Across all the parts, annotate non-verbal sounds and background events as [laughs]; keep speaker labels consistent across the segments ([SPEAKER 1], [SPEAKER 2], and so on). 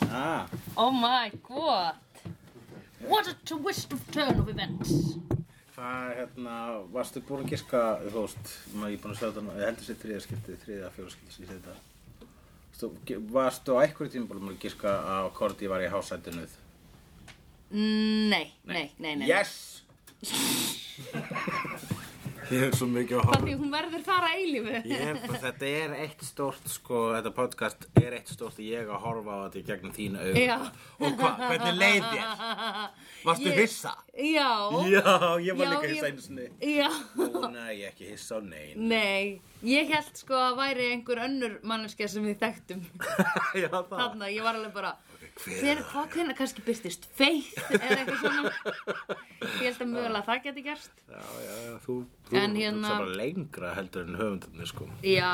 [SPEAKER 1] Ah,
[SPEAKER 2] Oh my god What a twist of turn of events
[SPEAKER 1] það er hérna, varstu búin að giska, þú veist, maður ég er búin að segja þetta, nú- ég heldur sér þriða skiptið, þriða fjóra skiptið sem ég segi þetta. Þú, ge- varstu á einhverju tíma búin að giska að Korti var í hásættinuð?
[SPEAKER 2] Nei, nei, nei, nei
[SPEAKER 1] Yes! [laughs] ég hef svo mikið á
[SPEAKER 3] Þannig hún verður þar að eilífu.
[SPEAKER 1] Ég hef, þetta er eitt stórt, sko, þetta podcast er eitt stórt ég að horfa á þetta í gegnum þín augun.
[SPEAKER 3] Já.
[SPEAKER 1] Og hvað, hvernig leið þér?
[SPEAKER 2] [laughs]
[SPEAKER 1] Varstu
[SPEAKER 3] Ég-
[SPEAKER 1] hissa?
[SPEAKER 3] Já,
[SPEAKER 1] Já, ég var
[SPEAKER 3] Já,
[SPEAKER 1] líka
[SPEAKER 3] ég-
[SPEAKER 1] hissa einu sinni.
[SPEAKER 3] já,
[SPEAKER 1] Núna er ég ekki hissa á nein.
[SPEAKER 3] nei. Ég held sko að væri einhver önnur manneskja sem við þekktum.
[SPEAKER 1] [laughs] Já, það.
[SPEAKER 3] Þarna, ég var alveg bara,
[SPEAKER 1] Hver
[SPEAKER 3] hver, hvað, hvernig kannski byrtist feitt eða eitthvað
[SPEAKER 1] [laughs]
[SPEAKER 3] svona. Ég held að mögulega það geti gerst.
[SPEAKER 1] Já, já, já, þú, þú
[SPEAKER 3] En
[SPEAKER 1] en
[SPEAKER 3] hérna-
[SPEAKER 1] bara lengra heldur en höfundarnir, sko.
[SPEAKER 3] Já,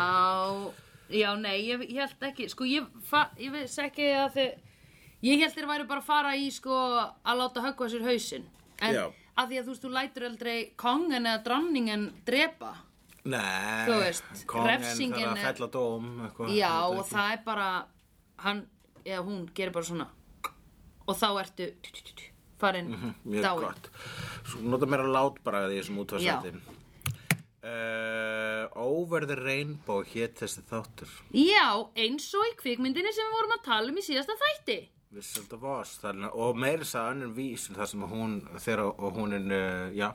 [SPEAKER 3] já, nei, ég, ég held ekki, sko, ég, fa, ég veist ekki að þau, ég held þeir væri bara að fara í, sko, að láta höggva sér hausinn. En
[SPEAKER 1] Já.
[SPEAKER 3] að því að þú veist, þú lætur aldrei kongin eða dronningin drepa.
[SPEAKER 1] Nei,
[SPEAKER 3] Þú veist,
[SPEAKER 1] kónginn
[SPEAKER 3] refsingin
[SPEAKER 1] þarf að
[SPEAKER 3] er-
[SPEAKER 1] fella dóm, eitthvað.
[SPEAKER 3] Já,
[SPEAKER 1] Þetta er
[SPEAKER 3] og
[SPEAKER 1] ekki-
[SPEAKER 3] það er bara, hann, eða hún, gerir bara svona. Og þá ertu farin mm
[SPEAKER 1] Hm, Mhm, Mjög gott. Svo nota meira lát bara því þessum útvarsættin. Uh, Over the Rainbow hétt þessi þáttur.
[SPEAKER 3] Já, eins og í kvikmyndinni sem við vorum að tala um í síðasta þætti.
[SPEAKER 1] Vincent of Oz. Þannig, og meira þess að önnur vís þar sem hún, þegar og hún er, uh, já,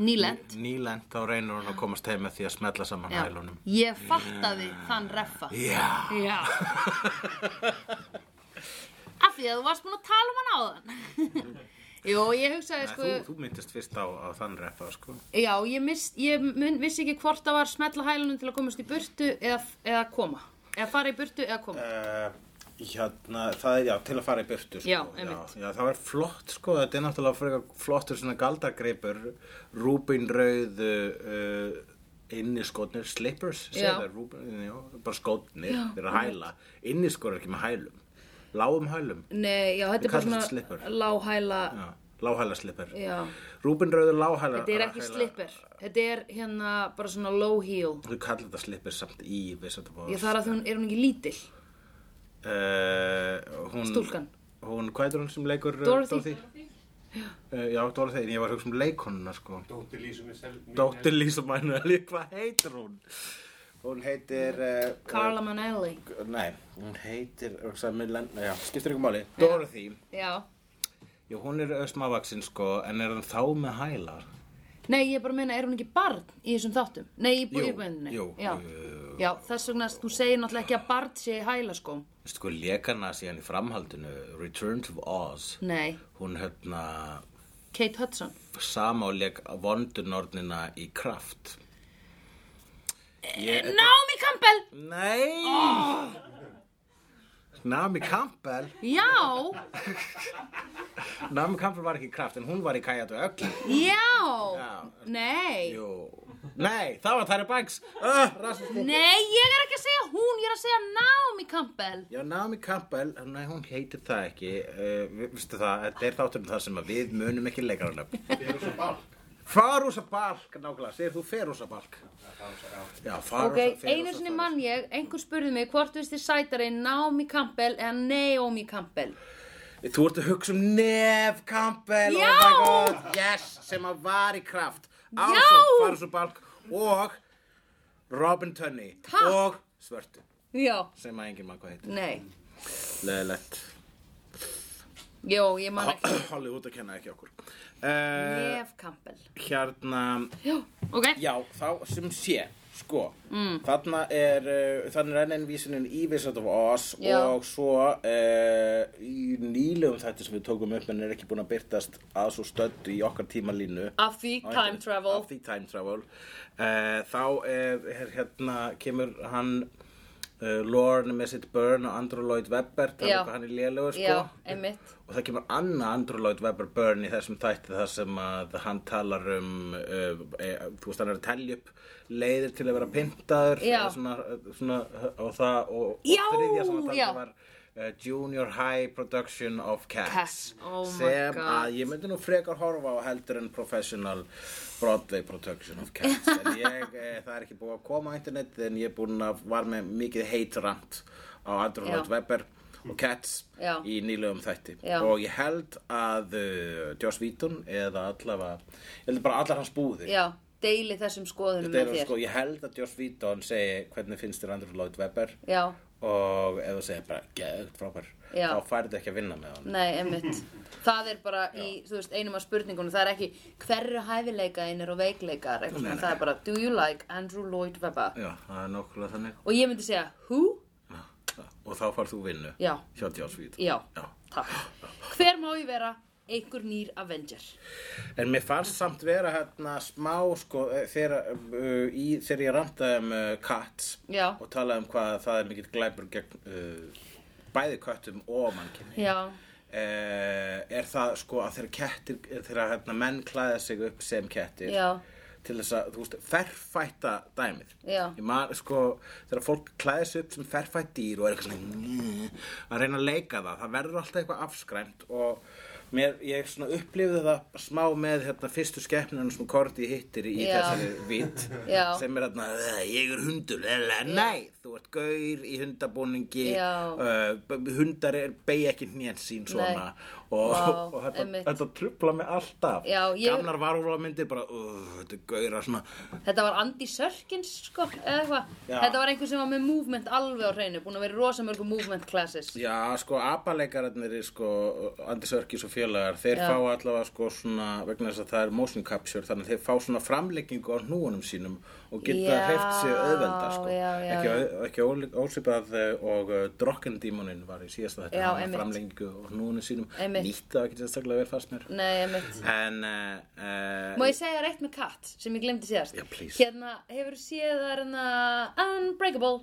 [SPEAKER 3] Nýlend.
[SPEAKER 1] nýlend, þá reynir hún að komast heim með því að smetla saman
[SPEAKER 3] Já,
[SPEAKER 1] hælunum.
[SPEAKER 3] ég fattaði þann reffa.
[SPEAKER 1] Já,
[SPEAKER 3] Já.
[SPEAKER 1] [laughs]
[SPEAKER 3] Af því að þú varst búin að tala um hann áðan. [laughs] Jú, ég hugsaði
[SPEAKER 1] Nei,
[SPEAKER 3] sko,
[SPEAKER 1] þú, þú myndist fyrst á, á þann refa, sko.
[SPEAKER 3] já, ég, miss, ég mun, vissi ekki hvort það var smetla hælunum til að komast í burtu eða, eða koma. Eða fara í burtu eða koma.
[SPEAKER 1] Uh, hérna, það er, já, til að fara í burtu, sko.
[SPEAKER 3] Já, einmitt.
[SPEAKER 1] Já, já, það var flott, sko, þetta er náttúrulega frekar flottur svona galdargripur, rúbinrauð, uh, inniskotnir, slippers,
[SPEAKER 3] Já.
[SPEAKER 1] segja það, rúbin, já, bara skotnir, þeir eru að hæla. Inniskor er ekki með hælum, lágum hælum,
[SPEAKER 3] Nei, já, þetta er
[SPEAKER 1] Við
[SPEAKER 3] bara
[SPEAKER 1] kallum
[SPEAKER 3] svona
[SPEAKER 1] þetta slipper.
[SPEAKER 3] lághæla,
[SPEAKER 1] já, lághæla slipper.
[SPEAKER 3] já.
[SPEAKER 1] Rúbinrauður lághæla.
[SPEAKER 3] Þetta er ekki
[SPEAKER 1] hæla-
[SPEAKER 3] slipper. Þetta er hérna bara svona low heel.
[SPEAKER 1] Þú kallar þetta slipper samt í, veist þetta
[SPEAKER 3] Ég þarf að því hún, er hún ekki lítil?
[SPEAKER 1] uh, hún,
[SPEAKER 3] Stúlkan.
[SPEAKER 1] hún, hvað er hún sem leikur uh,
[SPEAKER 3] Dorothy.
[SPEAKER 1] Uh, já, Dorothy, en ég var að hugsa um leikonuna sko
[SPEAKER 4] Dóttir Lísu með sel...
[SPEAKER 1] Dóttir Lísa Manueli, [laughs] hvað heitir hún? Hún heitir uh,
[SPEAKER 3] Carla Manelli.
[SPEAKER 1] uh, Nei, hún heitir uh, Milan, já, skiptir ykkur máli Dorothy,
[SPEAKER 3] Já.
[SPEAKER 1] já, hún er ösmavaksin sko en er hann þá með hælar?
[SPEAKER 3] Nei, ég er bara að meina, er hún ekki barn í þessum þáttum? Nei, í
[SPEAKER 1] Jú,
[SPEAKER 3] búiðbændinni?
[SPEAKER 1] jú,
[SPEAKER 3] já.
[SPEAKER 1] jú, jú, jú.
[SPEAKER 3] Já, þess vegna, þú segir náttúrulega ekki að barn sé sko. í hælaskóm.
[SPEAKER 1] Veistu hvað lekana Sko, síðan í framhaldinu Return to Oz
[SPEAKER 3] Nei,
[SPEAKER 1] Hún hérna
[SPEAKER 3] Kate Hudson.
[SPEAKER 1] sama og leik vondunornina í kraft Ég,
[SPEAKER 3] Naomi Campbell!
[SPEAKER 1] Nei! Naomi Campbell?
[SPEAKER 3] Já,
[SPEAKER 1] Naomi Campbell var ekki í kraft, en hún var í Kajatu Ögl.
[SPEAKER 3] já,
[SPEAKER 1] Já.
[SPEAKER 3] nei.
[SPEAKER 1] Jú. Nei, það var Tæri Banks. Uh, rasismi.
[SPEAKER 3] Nei, ég er ekki að segja hún, ég er að segja Naomi Campbell.
[SPEAKER 1] Já, Naomi Campbell, nei, hún heitir það ekki. Uh, við- veistu það, þetta er þátturinn þar sem að við munum ekki leikararnöfn.
[SPEAKER 4] Ferusa Balk.
[SPEAKER 1] Farúsa Balk, nákvæmlega, segir þú Ferúsa Balk? Já, Farúsa,
[SPEAKER 3] Ok,
[SPEAKER 1] Ferúsa
[SPEAKER 3] einu sinni mann ég, einhver spurði mig hvort veist þið sætari Naomi Campbell eða Naomi Campbell.
[SPEAKER 1] Þú ert að hugsa um Nef Campbell
[SPEAKER 3] Já!
[SPEAKER 1] oh my god, Yes, sem að var í kraft Ásand,
[SPEAKER 3] Já!
[SPEAKER 1] Farsu Balk og Robin Tunney
[SPEAKER 3] Takk.
[SPEAKER 1] og Svörtu
[SPEAKER 3] Já,
[SPEAKER 1] sem að enginn maður hvað heitir
[SPEAKER 3] nei,
[SPEAKER 1] Leðilegt
[SPEAKER 3] jó, ég man ekki.
[SPEAKER 1] [clears throat] Hollywood að kenna ekki okkur uh,
[SPEAKER 3] Nef Campbell.
[SPEAKER 1] Hérna
[SPEAKER 3] Já, ok.
[SPEAKER 1] Já, þá sem sé Sko, mm. þarna er uh, þannig er enn enn vísunin í Wizard of Oz
[SPEAKER 3] Já.
[SPEAKER 1] og svo uh, í nýlegum þetta sem við tókum upp en er ekki búin að byrtast að svo stöddu í okkar tímalínu
[SPEAKER 3] Af því time travel.
[SPEAKER 1] af því time travel uh, þá er, er hérna kemur hann uh, Lorne með sitt burn og Andrew Lloyd Webber það er
[SPEAKER 3] Já.
[SPEAKER 1] eitthvað hann er lélegur sko
[SPEAKER 3] Já, einmitt.
[SPEAKER 1] og það kemur annað Andrew Lloyd Webber burn í þessum þætti þar sem að hann talar um uh, e, þú veist hann er að telja upp leiðir til að vera pyntaður
[SPEAKER 3] Já.
[SPEAKER 1] eða svona, svona, eh, og það og, og
[SPEAKER 3] Já,
[SPEAKER 1] þriðja sem hann
[SPEAKER 3] já.
[SPEAKER 1] taldi var uh, Junior High Production of Cats,
[SPEAKER 3] Cats, oh my
[SPEAKER 1] sem
[SPEAKER 3] God.
[SPEAKER 1] að ég myndi nú frekar horfa á heldur en Professional Broadway Production of Cats en ég, eh, það er ekki búið að koma á internet en ég er búin að var með mikið heitrand á Andrew
[SPEAKER 3] Já.
[SPEAKER 1] Lloyd Webber og Cats
[SPEAKER 3] Já.
[SPEAKER 1] í nýlegum þætti
[SPEAKER 3] Já.
[SPEAKER 1] og ég held að uh, Joss Whedon eða allavega ég held bara allar hans búðir
[SPEAKER 3] Já, deili þessum skoðunum
[SPEAKER 1] Þetta
[SPEAKER 3] með
[SPEAKER 1] eru
[SPEAKER 3] þér.
[SPEAKER 1] sko, ég held að Joss Whedon segi hvernig finnst þér Andrew Lloyd Webber
[SPEAKER 3] Já,
[SPEAKER 1] og ef þú segir bara geðugt frábær
[SPEAKER 3] Já.
[SPEAKER 1] þá færðu ekki að vinna með hann
[SPEAKER 3] nei,
[SPEAKER 1] [laughs]
[SPEAKER 3] emmitt. Það er bara í, þú veist, einum af spurningunum, það er ekki hverju hæfileika einir og veikleikar, eitthvað,
[SPEAKER 1] Nei,
[SPEAKER 3] svona.
[SPEAKER 1] nei.
[SPEAKER 3] það er bara do you like Andrew Lloyd Webber?
[SPEAKER 1] Já, það er nokkulega þannig
[SPEAKER 3] Og ég myndi segja, who?
[SPEAKER 1] Já. og þá færðu þú vinnu
[SPEAKER 3] Já,
[SPEAKER 1] hjá Joss Whedon
[SPEAKER 3] já,
[SPEAKER 1] Já.
[SPEAKER 3] takk. Hver má ég vera einhver nýr Avenger?
[SPEAKER 1] En mér fannst samt vera hérna smá sko, eh, þegar, uh, í, þegar ég randaði um uh, Cats
[SPEAKER 3] Já.
[SPEAKER 1] og talaði um hvað það er mikill glæpur gegn uh, bæði köttum og mannkinni
[SPEAKER 3] Já,
[SPEAKER 1] eh, er það sko að þeirra kettir þeirra hérna, menn klæða sig upp sem kettir
[SPEAKER 3] Já.
[SPEAKER 1] til þess að, þú veist, ferfætta dæmið
[SPEAKER 3] Já.
[SPEAKER 1] ég man, sko, þegar fólk klæða sig upp sem ferfætt dýr og er eitthvað svona að reyna að leika það, það verður alltaf eitthvað afskræmt og mér, ég svona upplifði það smá með hérna, fyrstu skepnunum sem Korti hittir í
[SPEAKER 3] Já.
[SPEAKER 1] þessari vitt
[SPEAKER 3] [laughs] Já.
[SPEAKER 1] sem er hérna, "Eh, ég er hundur eða, nei, þú ert gaur í hundabúningi
[SPEAKER 3] Já.
[SPEAKER 1] uh, b- hundar er beigja ekki hnén sín svona og,
[SPEAKER 3] Vá,
[SPEAKER 1] [laughs] og þetta,
[SPEAKER 3] einmitt.
[SPEAKER 1] þetta trubla mig alltaf
[SPEAKER 3] Já, ég-
[SPEAKER 1] gamlar varúlamyndir bara uh, þetta er gauðra svona
[SPEAKER 3] þetta var Andy Serkins, sko, eða eitthvað.
[SPEAKER 1] Já.
[SPEAKER 3] Þetta var einhver sem var með movement alveg á hreinu, búin að vera í rosa mörgum movement classes.
[SPEAKER 1] já sko abaleikararnir í, sko Andi Sörkis og félagar þeir
[SPEAKER 3] Já.
[SPEAKER 1] fá allavega sko svona vegna þess að það er motion capture þannig að þeir fá svona framleggingu á hnúunum sínum og geta
[SPEAKER 3] Já,
[SPEAKER 1] hreift sig auðvelda sko
[SPEAKER 3] já, já,
[SPEAKER 1] ekki,
[SPEAKER 3] já.
[SPEAKER 1] au- ekki ólí- ósvipað eh, og uh, drokkendímonin var í síðasta þetta
[SPEAKER 3] Já,
[SPEAKER 1] hann var
[SPEAKER 3] einmitt.
[SPEAKER 1] framleggingu á hnúunum sínum
[SPEAKER 3] Einmitt.
[SPEAKER 1] nýtt það ekki sérstaklega vel fast mér
[SPEAKER 3] Nei, einmitt.
[SPEAKER 1] en uh,
[SPEAKER 3] Má ég segja reitt með katt sem ég glemdi síðast?
[SPEAKER 1] Já, please.
[SPEAKER 3] Hérna, hefur séð það hérna Unbreakable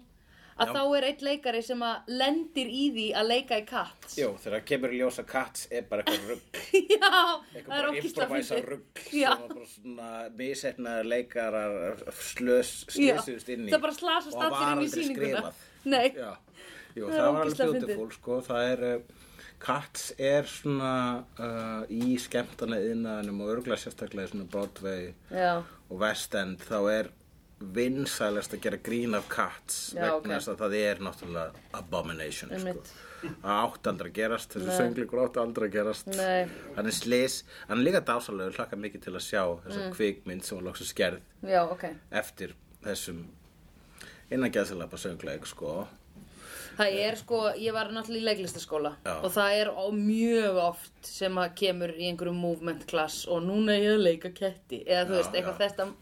[SPEAKER 3] að
[SPEAKER 1] Já.
[SPEAKER 3] þá er einn leikari sem að lendir í því að leika í katt.
[SPEAKER 1] Jú, þegar kemur í ljós að Cats er bara eitthvað rugg
[SPEAKER 3] [laughs] Já, það er
[SPEAKER 1] eitthvað bara
[SPEAKER 3] ókýrslega
[SPEAKER 1] improvisa rugg
[SPEAKER 3] Já,
[SPEAKER 1] sem var bara svona misetnaður leikarar slös, slösuðust inn í
[SPEAKER 3] það bara slasast
[SPEAKER 1] og var
[SPEAKER 3] allir inn í
[SPEAKER 1] aldrei
[SPEAKER 3] sýninguna.
[SPEAKER 1] skrifað.
[SPEAKER 3] Nei.
[SPEAKER 1] Já, Jú,
[SPEAKER 3] Það er
[SPEAKER 1] það, var alveg
[SPEAKER 3] ógeðslega fyndið.
[SPEAKER 1] beautiful sko, það er uh, Cats er svona uh, í skemmtana innaðanum og örgla sérstaklega í svona Broadway
[SPEAKER 3] já,
[SPEAKER 1] og West End þá er vinsælast að gera grín af Cats
[SPEAKER 3] Já, ok.
[SPEAKER 1] vegna þess að það er náttúrulega abomination sko.
[SPEAKER 3] Einmitt.
[SPEAKER 1] að átt aldrei að gerast þessu
[SPEAKER 3] Nei.
[SPEAKER 1] söngleikur átt aldrei að gerast
[SPEAKER 3] Nei.
[SPEAKER 1] hann er slis, hann er líka dásalögur hlakka mikið til að sjá þessa
[SPEAKER 3] Mm.
[SPEAKER 1] kvikmynd sem var loksins gerð
[SPEAKER 3] já, ok.
[SPEAKER 1] eftir þessum innan geðsalapa söngleik sko
[SPEAKER 3] Það er sko, ég var náttúrulega í leiklistaskóla
[SPEAKER 1] Já.
[SPEAKER 3] og það er á mjög oft sem að kemur í einhverjum movement class og núna er ég að leika ketti eða þú
[SPEAKER 1] Já,
[SPEAKER 3] veist, eitthvað
[SPEAKER 1] já.
[SPEAKER 3] þetta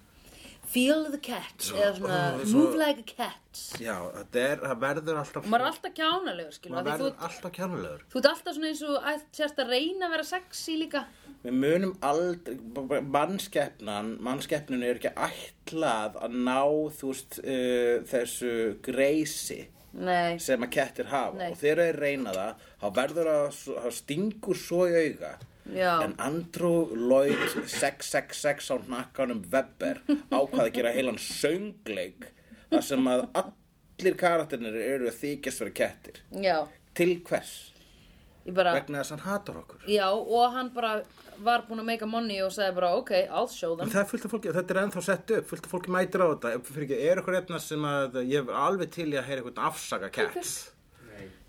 [SPEAKER 3] feel the cat eða svona
[SPEAKER 1] ó, [laughs] svo-
[SPEAKER 3] move like a cat
[SPEAKER 1] já, þetta er, það verður alltaf
[SPEAKER 3] og maður er alltaf kjánalegur skilu,
[SPEAKER 1] maður
[SPEAKER 3] af því þú,
[SPEAKER 1] verður alltaf kjárlegur
[SPEAKER 3] þú ert alltaf svona eins og að sérst að reyna að vera sexy líka
[SPEAKER 1] Við munum aldrei, mannskeppnan, mannskeppnun er ekki ætlað að ná þú veist uh, þessu greysi
[SPEAKER 3] nei,
[SPEAKER 1] sem að kettir hafa
[SPEAKER 3] Nei.
[SPEAKER 1] og þegar þeir reyna það, þá verður að, þá stingur svo í auga.
[SPEAKER 3] Já.
[SPEAKER 1] En Andrew Lloyd 666 á hnakkanum Webber ákvað að gera heilan söngleik þar sem að allir karakterinir eru að þykjast vera kettir.
[SPEAKER 3] já,
[SPEAKER 1] Til hvers?
[SPEAKER 3] ég bara
[SPEAKER 1] Vegna þess að hann hatar okkur.
[SPEAKER 3] já, og hann bara var búinn að make a money og sagði bara, ok, I'll show
[SPEAKER 1] En [laughs]
[SPEAKER 3] them
[SPEAKER 1] það er fullt af fólki, þetta er ennþá sett upp, fullt af fólki mætir á þetta, fyrir ekki, er eitthvað efna sem að ég er alveg til í að heyra eitthvað afsaka cats?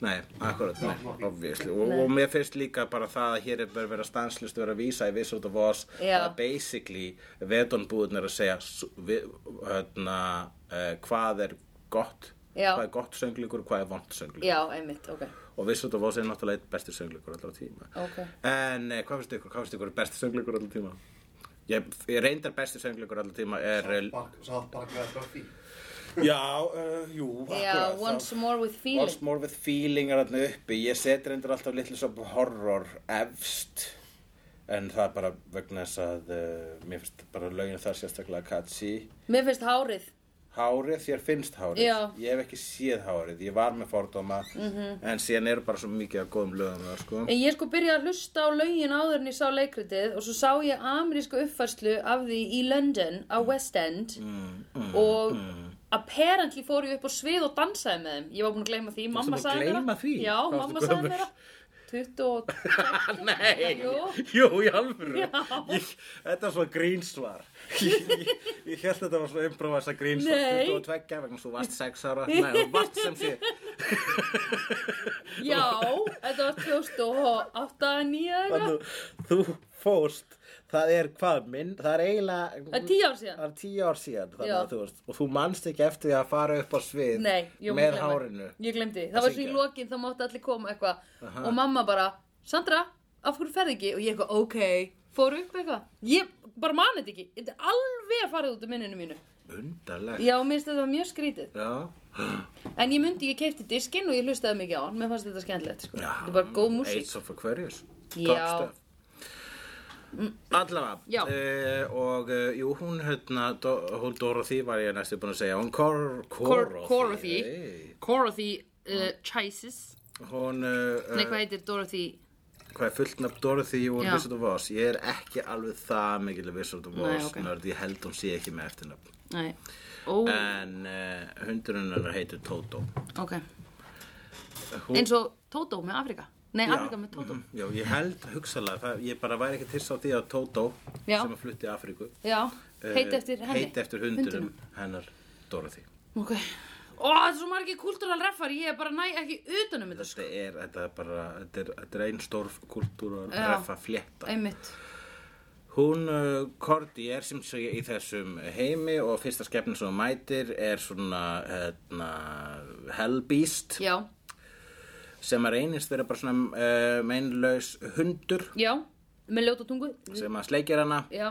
[SPEAKER 1] Nei, akkurat, nei, obviously, og, og mér finnst líka bara það að hér er bara verið að stanslust vera að vísa í Wizard of Oz,
[SPEAKER 3] Já.
[SPEAKER 1] að basically vetonbúðnir að segja s- við, hérna, uh, hvað er gott,
[SPEAKER 3] Já.
[SPEAKER 1] hvað er gott sönglingur og hvað er vond sönglingur
[SPEAKER 3] já, einmitt, ok
[SPEAKER 1] og Wizard of Oz er náttúrulega einn besti söngleikur allra tíma
[SPEAKER 3] Ok.
[SPEAKER 1] en eh, hvað finnst ykkur, hvað finnst ykkur er besti söngleikur allra tíma ég, ég reyndar besti söngleikur allra tíma er eh,
[SPEAKER 4] Sátt bara hvað Buffy
[SPEAKER 1] já, uh, jú,
[SPEAKER 3] já,
[SPEAKER 1] akkurat,
[SPEAKER 3] once
[SPEAKER 1] það-
[SPEAKER 3] more with
[SPEAKER 1] Once
[SPEAKER 3] feeling
[SPEAKER 1] more with feeling er alltaf uppi ég set reyndar alltaf litlu svo horror efst en það er bara vegna þess að uh, mér finnst bara lögin þar sérstaklega katsi
[SPEAKER 3] mér finnst hárið
[SPEAKER 1] Hárið, þér finnst hárið,
[SPEAKER 3] Já. Mhm.
[SPEAKER 1] ég hef ekki séð hárið, ég var með fordóma, -hmm. en síðan eru bara svo mikið af góðum lögum, með það, sko.
[SPEAKER 3] En ég sko byrjaði að hlusta á lögin áður en ég sá leikritið og svo sá
[SPEAKER 1] Mm,
[SPEAKER 3] ég amerísku uppfærslu af því í London á West End og apparently fór ég upp á svið og dansaði með þeim ég var búin að gleyma því, mamma
[SPEAKER 1] búin að
[SPEAKER 3] sagði mér
[SPEAKER 1] gleyma
[SPEAKER 3] það.
[SPEAKER 1] því?
[SPEAKER 3] já,
[SPEAKER 1] Hvað varstu
[SPEAKER 3] mamma sagði
[SPEAKER 1] gömul?
[SPEAKER 3] mér það. 22
[SPEAKER 1] [laughs] Nei,
[SPEAKER 3] Jú.
[SPEAKER 1] jú, í alvöru ég, Þetta er svona grínsvar Ég, ég, ég held þetta var svona improvisa grínsvar
[SPEAKER 3] Nei.
[SPEAKER 1] 22 vegna svo vast 6 ára Nei, þú vast sem sé
[SPEAKER 3] já, þetta var 2008 að 9
[SPEAKER 1] Þannig
[SPEAKER 3] eitthvað
[SPEAKER 1] að Þú fóst Það er hvað minn, það er eiginlega
[SPEAKER 3] það er 10 ár síðan
[SPEAKER 1] Það er tíu ár síðan þannig
[SPEAKER 3] Já.
[SPEAKER 1] að þú veist Og þú manst ekki eftir því að fara upp á svið
[SPEAKER 3] Nei, ég var búin
[SPEAKER 1] Með
[SPEAKER 3] að gleyma.
[SPEAKER 1] hárinu
[SPEAKER 3] Ég glemdi,
[SPEAKER 1] Að
[SPEAKER 3] það var svo í
[SPEAKER 1] syngja.
[SPEAKER 3] lokin þá máttu allir koma eitthvað Og mamma bara, Sandra, af hverju ferði ekki? Og ég eitthvað, ok, fór upp eitthvað Ég bara mani þetta ekki, þetta er alveg farið út af minninu mínu
[SPEAKER 1] Undarlegt
[SPEAKER 3] Já, mér finnst þetta mjög skrítið
[SPEAKER 1] Já,
[SPEAKER 3] En ég myndi, ég keipti diskinn og ég hlustaði mikið á hann Mér fannst þetta skemmtilegt, sko
[SPEAKER 1] Já.
[SPEAKER 3] Þetta er bara góð músík
[SPEAKER 1] Ace of Aquarius
[SPEAKER 3] Já. Mm.
[SPEAKER 1] Top stuff. Allavega,
[SPEAKER 3] Já.
[SPEAKER 1] Eh, og uh, jú, hún hérna, Do, hún Dorothy var ég næstu búin að segja, hún Cor
[SPEAKER 3] Cor-
[SPEAKER 1] Corothy,
[SPEAKER 3] Corothy
[SPEAKER 1] hey.
[SPEAKER 3] Corothy uh, Chises
[SPEAKER 1] hún, uh,
[SPEAKER 3] Nei,
[SPEAKER 1] uh,
[SPEAKER 3] hvað heitir Dorothy?
[SPEAKER 1] hvað er fullt nafn Dorothy úr
[SPEAKER 3] Já.
[SPEAKER 1] Wizard of Oz, ég er ekki alveg það mikil Wizard of
[SPEAKER 3] Nei,
[SPEAKER 1] Oz,
[SPEAKER 3] ok.
[SPEAKER 1] nörd, ég held hún sé ekki með eftirnafn,
[SPEAKER 3] Nei, ó,
[SPEAKER 1] en uh, hundurinn hennar heitir Toto,
[SPEAKER 3] ok
[SPEAKER 1] hún,
[SPEAKER 3] Eins og Toto með Afrika Nei, Afrika með Toto
[SPEAKER 1] mhm, já, ég held hugsalega, það, ég bara væri ekki tissa á því að Toto,
[SPEAKER 3] Já.
[SPEAKER 1] sem að flutti Afríku,
[SPEAKER 3] Já,
[SPEAKER 1] Eh,
[SPEAKER 3] heit eftir henni
[SPEAKER 1] heiti eftir hundunum hennar Dorothy
[SPEAKER 3] Ok Ó, það er svo margir kultúral reffar Ég er bara næ ekki utanum þetta sko
[SPEAKER 1] þetta er, þetta er bara þetta er, þetta er ein stór kultúr að
[SPEAKER 3] Já.
[SPEAKER 1] refa flétta
[SPEAKER 3] Einmitt
[SPEAKER 1] hún uh, Korti er sem sé í þessum heimi og fyrsta skefnin sem hún mætir er svona hérna, Hellbeast
[SPEAKER 3] Já,
[SPEAKER 1] sem að reynist vera bara svona uh, meinlaus hundur
[SPEAKER 3] já, með ljóta tungu
[SPEAKER 1] sem að sleikir hana
[SPEAKER 3] Já,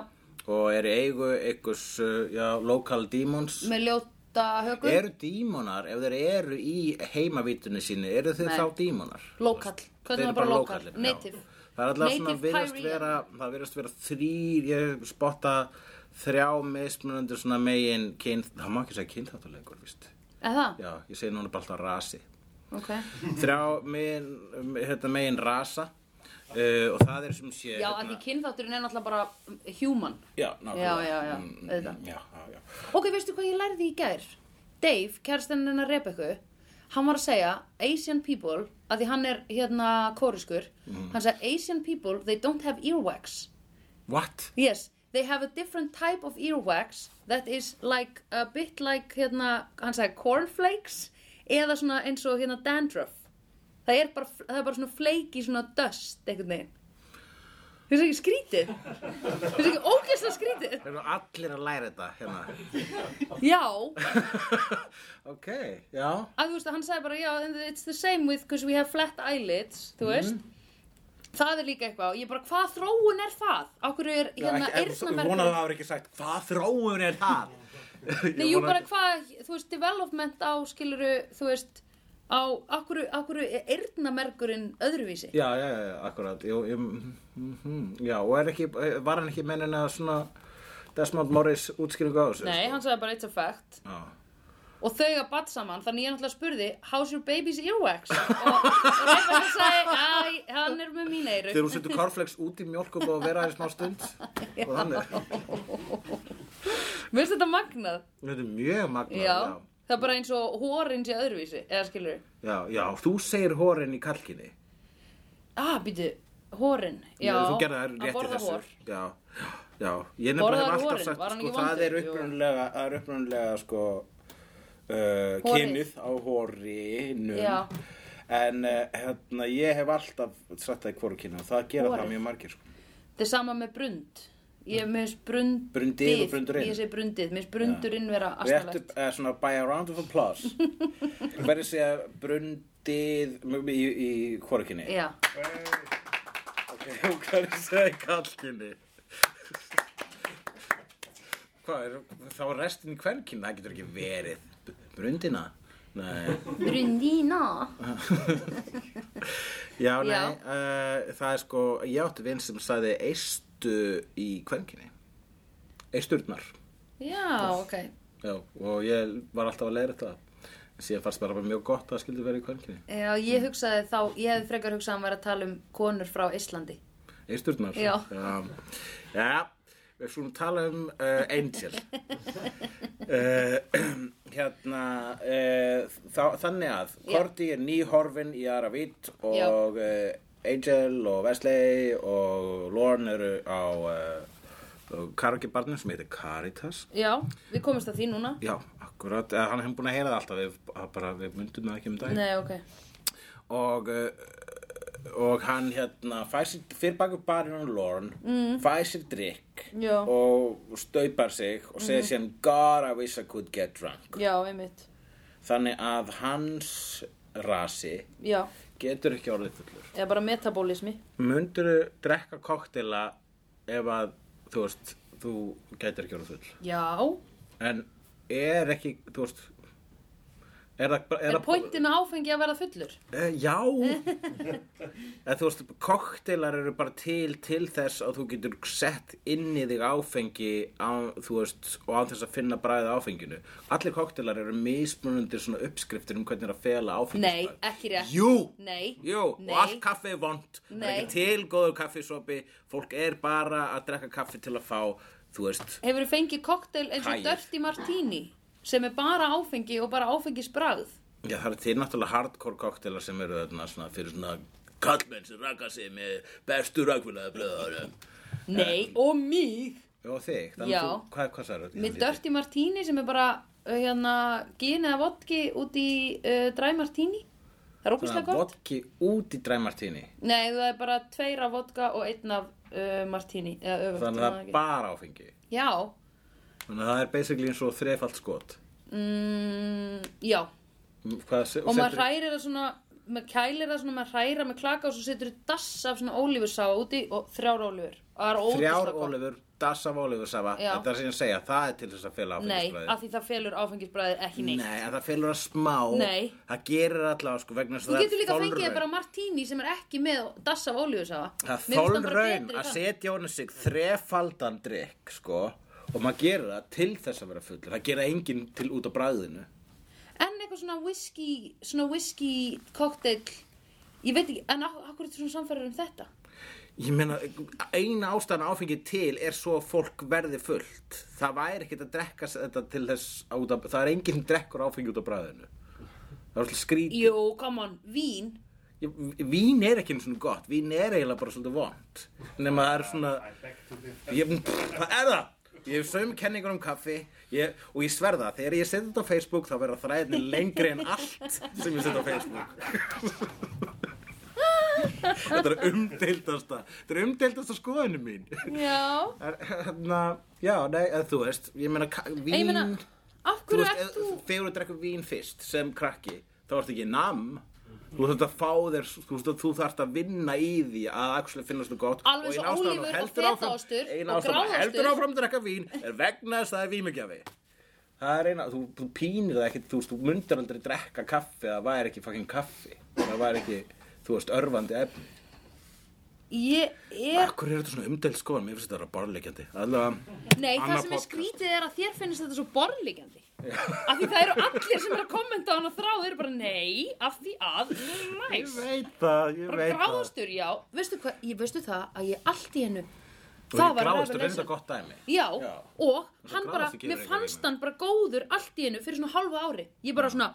[SPEAKER 1] og er í eigu einhvers uh, já, local demons
[SPEAKER 3] með ljóta högu
[SPEAKER 1] eru dímonar ef þeir eru í heimavítunni sínu eru þeir
[SPEAKER 3] Nei.
[SPEAKER 1] þá dímonar
[SPEAKER 3] Lokal. Hvernig
[SPEAKER 1] Þeir
[SPEAKER 3] er
[SPEAKER 1] eru
[SPEAKER 3] bara lokal?
[SPEAKER 1] lokalin, já.
[SPEAKER 3] Native.
[SPEAKER 1] það er alltaf svona
[SPEAKER 3] Native
[SPEAKER 1] virðast
[SPEAKER 3] Pyrenean.
[SPEAKER 1] vera það virðast vera þrýr ég spotta þrjá mismunandi svona megin kyn, það má ekki segja kynþáttuleikur víst.
[SPEAKER 3] Eða það?
[SPEAKER 1] já, ég segi núna bara alltaf rasi
[SPEAKER 3] Ok
[SPEAKER 1] þrjá megin, hérna, megin rasa uh, og það er sem sé
[SPEAKER 3] Já, að
[SPEAKER 1] hérna,
[SPEAKER 3] því kynþátturinn er náttúrulega bara human
[SPEAKER 1] já, nákvæmlega.
[SPEAKER 3] Já, já, já,
[SPEAKER 1] Mm,
[SPEAKER 3] auðvitað.
[SPEAKER 1] já, já, já.
[SPEAKER 3] Ok, veistu hvað ég lærði í gær? Dave, kærstinn hennar Rebekku, hann var að segja Asian people, að því hann er hérna kóriskur,
[SPEAKER 1] Mhm.
[SPEAKER 3] hann sagði Asian people, they don't have earwax.
[SPEAKER 1] what?
[SPEAKER 3] Yes, they have a different type of earwax that is like a bit like hérna, hann sagði cornflakes eða svona eins og hérna dandruff. Það er bara, það er bara svona fleiki svona dust einhvern veginn. Þú veist ekki skrítið? Þú veist ekki ógeðslega skrítið?
[SPEAKER 1] Það eru allir að læra þetta hérna.
[SPEAKER 3] Já,
[SPEAKER 1] [laughs] ok, já,
[SPEAKER 3] að þú veist að hann sagði bara já, and it's the same with because we have flat eyelids, þú veist. Það er líka eitthvað og ég bara hvað þróun er það? Akkur er hérna
[SPEAKER 1] Ég vona að það
[SPEAKER 3] eyrnamergur?
[SPEAKER 1] hafa ekki sagt, hvað þróun er það?
[SPEAKER 3] [laughs] Nei, jú, bara hvað, þú veist, development á, skiluru, þú veist, á, akkur, akkur er eyrnamergurinn öðruvísi?
[SPEAKER 1] Já, já, já, akkurat, jú, jú, mm, mm, já, og er ekki, var hann ekki mennin að svona Desmond Morris útskýringu á þessu?
[SPEAKER 3] Nei, hann sagði bara it's a fact.
[SPEAKER 1] Já,
[SPEAKER 3] Og þau að bat saman, þannig ég náttúrulega spurði, how's your baby's
[SPEAKER 1] [laughs]
[SPEAKER 3] earwax? Og, og Rebecca sagði, æ, hann er með mín eyru.
[SPEAKER 1] þegar hún setur cornflakes út í mjólk og búið að vera aðeins smá
[SPEAKER 3] [laughs]
[SPEAKER 1] stund og þannig,
[SPEAKER 3] Mér finnst þetta magnað?
[SPEAKER 1] þetta er mjög magnað,
[SPEAKER 3] Já.
[SPEAKER 1] já.
[SPEAKER 3] Það er bara eins og hórin sé öðruvísi, eða skiluru.
[SPEAKER 1] Já, já, þú segir hórin í kalkinni.
[SPEAKER 3] Ah, býtu, hórin, já.
[SPEAKER 1] þú gerði það
[SPEAKER 3] að
[SPEAKER 1] rétt í
[SPEAKER 3] borða
[SPEAKER 1] þessu.
[SPEAKER 3] hór.
[SPEAKER 1] Já, já, ég
[SPEAKER 3] Borðaði
[SPEAKER 1] nefnilega hef alltaf
[SPEAKER 3] horin,
[SPEAKER 1] sagt,
[SPEAKER 3] var hann
[SPEAKER 1] sko,
[SPEAKER 3] ekki
[SPEAKER 1] það
[SPEAKER 3] vondur?
[SPEAKER 1] er
[SPEAKER 3] Jú.
[SPEAKER 1] upprunalega, það er upprunalega, sko, uh,
[SPEAKER 3] Horið.
[SPEAKER 1] kynið á horinu.
[SPEAKER 3] Já.
[SPEAKER 1] En uh, hérna, ég hef alltaf sagt það í hvoru kynið og það gera
[SPEAKER 3] Horið.
[SPEAKER 1] það mjög margir, sko.
[SPEAKER 3] Þetta er sama með brund. Ég meðist brundið.
[SPEAKER 1] Brundið og brundurinn.
[SPEAKER 3] Ég segi brundið. Mér finnst brundurinn vera
[SPEAKER 1] Réttu,
[SPEAKER 3] astanlegt.
[SPEAKER 1] uh, svona, by a round of
[SPEAKER 3] [laughs]
[SPEAKER 1] applause. Verður segja brundið í, í hvoru kynið?
[SPEAKER 3] Já.
[SPEAKER 1] Ok, [laughs] og hvað er það í kalkinni? Hvað er, þá er restin í kvenkinna, það getur ekki verið. B- Brundina? Nei. [laughs]
[SPEAKER 3] Brundína.
[SPEAKER 1] Já, nei,
[SPEAKER 3] Já.
[SPEAKER 1] Uh, það er sko, ég átti vinn sem sagði eistu í kvenkinni. Eisturnar.
[SPEAKER 3] Já, ok.
[SPEAKER 1] Já, og ég var alltaf að leiða þetta. Síðan fannst bara mjög gott að það skildi verið í kvenkinni.
[SPEAKER 3] Já, ég hugsaði þá, ég hefði frekar hugsað að hann væri að tala um konur frá Íslandi.
[SPEAKER 1] Eisturnar.
[SPEAKER 3] Já.
[SPEAKER 1] Já, eh,
[SPEAKER 3] [laughs]
[SPEAKER 1] já við skulum tala um uh, Angel. uh, [clears throat] hérna, e, þá, þannig að
[SPEAKER 3] Já.
[SPEAKER 1] Korti er nýhorfin í aðra vitt
[SPEAKER 3] Já.
[SPEAKER 1] og e, Angel og Wesley og Lorne eru á e, karaokebarnum sem heitir Caritas.
[SPEAKER 3] Já, við komumst að því núna.
[SPEAKER 1] Já, akkurat, eh, hann hefum búin að heyra það alltaf, við, að bara, við myndum það ekki um daginn.
[SPEAKER 3] Nei, ok.
[SPEAKER 1] Og, eh, og hann hérna, fær sér, fyrir bakur barinn hann Lorne, mm. fær sér drikk
[SPEAKER 3] Já.
[SPEAKER 1] og staupar sig og segir síðan God, I wish I could get drunk.
[SPEAKER 3] Já, einmitt.
[SPEAKER 1] Þannig að hans rasi
[SPEAKER 3] Já,
[SPEAKER 1] getur ekki orðið fullur.
[SPEAKER 3] eða bara metabolismi.
[SPEAKER 1] Mundurðu drekka koktela ef að þú veist, þú getur ekki orðið full.
[SPEAKER 3] Já.
[SPEAKER 1] En er ekki, þú veist, er það... bara-
[SPEAKER 3] Er
[SPEAKER 1] það-
[SPEAKER 3] pointin að áfengi að verða fullur?
[SPEAKER 1] Eh,
[SPEAKER 3] [laughs]
[SPEAKER 1] Já, eða þú veist, koktelar eru bara til til þess að þú getur sett inn í þig áfengi á, þú veist, og án þess að finna bræðið áfenginu. Allir koktelar eru mismunundir svona uppskriftir um hvernig er að fela áfengi.
[SPEAKER 3] Nei, ekki rétt.
[SPEAKER 1] Jú,
[SPEAKER 3] Nei.
[SPEAKER 1] jú,
[SPEAKER 3] Nei.
[SPEAKER 1] og allt kaffi er vond. Það er
[SPEAKER 3] Nei.
[SPEAKER 1] ekki til góður kaffisopi, fólk er bara að drekka kaffi til að fá, þú veist,
[SPEAKER 3] Hefur þið fengið koktel eins og
[SPEAKER 1] Hægir.
[SPEAKER 3] Dirty Martini sem er bara áfengi og bara áfengisbragð?
[SPEAKER 1] Já, það eru til náttúrulega hardcore koktelar sem eru þarna svona fyrir svona kallmenn sem raka sig með bestu rakvilaða blöðarum.
[SPEAKER 3] Nei, og mig.
[SPEAKER 1] Og þig, þannig
[SPEAKER 3] Já.
[SPEAKER 1] að þú, hvað, hvað sagði þetta?
[SPEAKER 3] Með Dirty Martini sem er bara uh, hérna, gin eða vodki út í uh, Dry Martini. Það er ókvæmstlega gott.
[SPEAKER 1] Vodki út í dræmartíni,
[SPEAKER 3] Nei, það er bara tveir af vodka og einn af uh, Martini. Eða öfugt.
[SPEAKER 1] þannig
[SPEAKER 3] ég man
[SPEAKER 1] að það
[SPEAKER 3] ekki.
[SPEAKER 1] er bara áfengi.
[SPEAKER 3] Já,
[SPEAKER 1] Þannig að það er basically eins og þrefald skot.
[SPEAKER 3] mm, já.
[SPEAKER 1] Hvað, se-
[SPEAKER 3] Og maður
[SPEAKER 1] setur-
[SPEAKER 3] hrærir það svona, maður kælir það svona, maður hræra með klaka og svo setur þú dass af svona ólífursáa úti og þrjár ólífur. Og það er
[SPEAKER 1] Þrjár
[SPEAKER 3] ógeðslega gott.
[SPEAKER 1] ólefur, das af ólefur safa,
[SPEAKER 3] Já.
[SPEAKER 1] þetta er sem ég að segja, það er til þess að fela
[SPEAKER 3] Nei,
[SPEAKER 1] áfengisbræði.
[SPEAKER 3] af því það felur áfengisbræðið ekki neitt.
[SPEAKER 1] Nei, en það felur það smá,
[SPEAKER 3] Nei.
[SPEAKER 1] það gerir allavega sko vegna þess
[SPEAKER 3] Þú
[SPEAKER 1] að
[SPEAKER 3] getur líka fengið
[SPEAKER 1] þolraun.
[SPEAKER 3] þér bara martini sem er ekki með dass af ólífusafa.
[SPEAKER 1] Það er þólraun að setja honum sig þrefaldan drikk, sko, og maður gerir það til þess að vera fullur. Það gera enginn til út á bræðinu.
[SPEAKER 3] En eitthvað svona whisky, svona whisky cocktail, ég veit ekki, en akkur er þetta svona samfærar um þetta?
[SPEAKER 1] Ég meina, eina ástæðan áfengið til er svo að fólk verði fullt. Það væri ekkert að drekka s- þetta til þess út á, það er enginn sem drekkur áfengi út á bræðinu. Það er alltaf skrítið.
[SPEAKER 3] Jú, come on, vín.
[SPEAKER 1] Ég- Vín er ekki eins og gott, vín er eiginlega bara svolítið vond. Nefn að það er svona... Ég, pff, það er það! Ég hef sömu kenningar um kaffi ég, og ég sverða, þegar ég setja þetta á Facebook þá verða þræðinni lengri en allt sem ég setja á Facebook. þetta er umdeildasta, þetta er umdeildasta skoðinu mín.
[SPEAKER 3] Já.
[SPEAKER 1] Það er, Hérna, já, nei, eða þú veist, ég meina ka- vín...
[SPEAKER 3] Ég meina, af
[SPEAKER 1] Þú
[SPEAKER 3] hverju
[SPEAKER 1] veist,
[SPEAKER 3] ert
[SPEAKER 1] ef-
[SPEAKER 3] þú...
[SPEAKER 1] þegar þú drekkur vín fyrst sem krakki, þá ertu ekki nam þú þarft að fá þér þú, veist, að þú þarft að vinna í því að actually finnast þú gott
[SPEAKER 3] Alveg
[SPEAKER 1] og ein
[SPEAKER 3] svo
[SPEAKER 1] ástæðan
[SPEAKER 3] ólífur
[SPEAKER 1] þú
[SPEAKER 3] og
[SPEAKER 1] heldur áfram-
[SPEAKER 3] fetaostur
[SPEAKER 1] ein
[SPEAKER 3] og
[SPEAKER 1] ástæðan þú
[SPEAKER 3] gráðaostur.
[SPEAKER 1] heldur áfram að drekka vín er vegna þess að það er vímugjafi það er eina, þú, þú pínir það ekkit þú, veist, þú mundir aldrei drekka kaffi það væri ekki fucking kaffi það væri ekki, þú veist, örfandi efni
[SPEAKER 3] Ég er...
[SPEAKER 1] Akkur er þetta svona umdelt skoðan, mér finnst þetta að borðleikjandi Allavega,
[SPEAKER 3] Nei, það
[SPEAKER 1] annað
[SPEAKER 3] sem er
[SPEAKER 1] podcast.
[SPEAKER 3] skrítið er að þér finnst þetta svo borðlíkjandi. Af því það eru allir sem eru að kommenta á hana þrá, þeir eru bara nei, af því að,
[SPEAKER 1] ég
[SPEAKER 3] næs.
[SPEAKER 1] veit það, ég
[SPEAKER 3] Bara
[SPEAKER 1] veit það
[SPEAKER 3] gráðastur, já. Veistu hvað, ég veistu það að ég allt í hennu,
[SPEAKER 1] Og
[SPEAKER 3] það var
[SPEAKER 1] gráðastur er
[SPEAKER 3] revelation.
[SPEAKER 1] þetta gott dæmi
[SPEAKER 3] Já,
[SPEAKER 1] Já.
[SPEAKER 3] og
[SPEAKER 1] Svo
[SPEAKER 3] hann bara,
[SPEAKER 1] gráðastur gerir
[SPEAKER 3] mér
[SPEAKER 1] eitthvað
[SPEAKER 3] fannst
[SPEAKER 1] við
[SPEAKER 3] hann bara góður allt í hennu fyrir svona halva ári. Ég bara svona,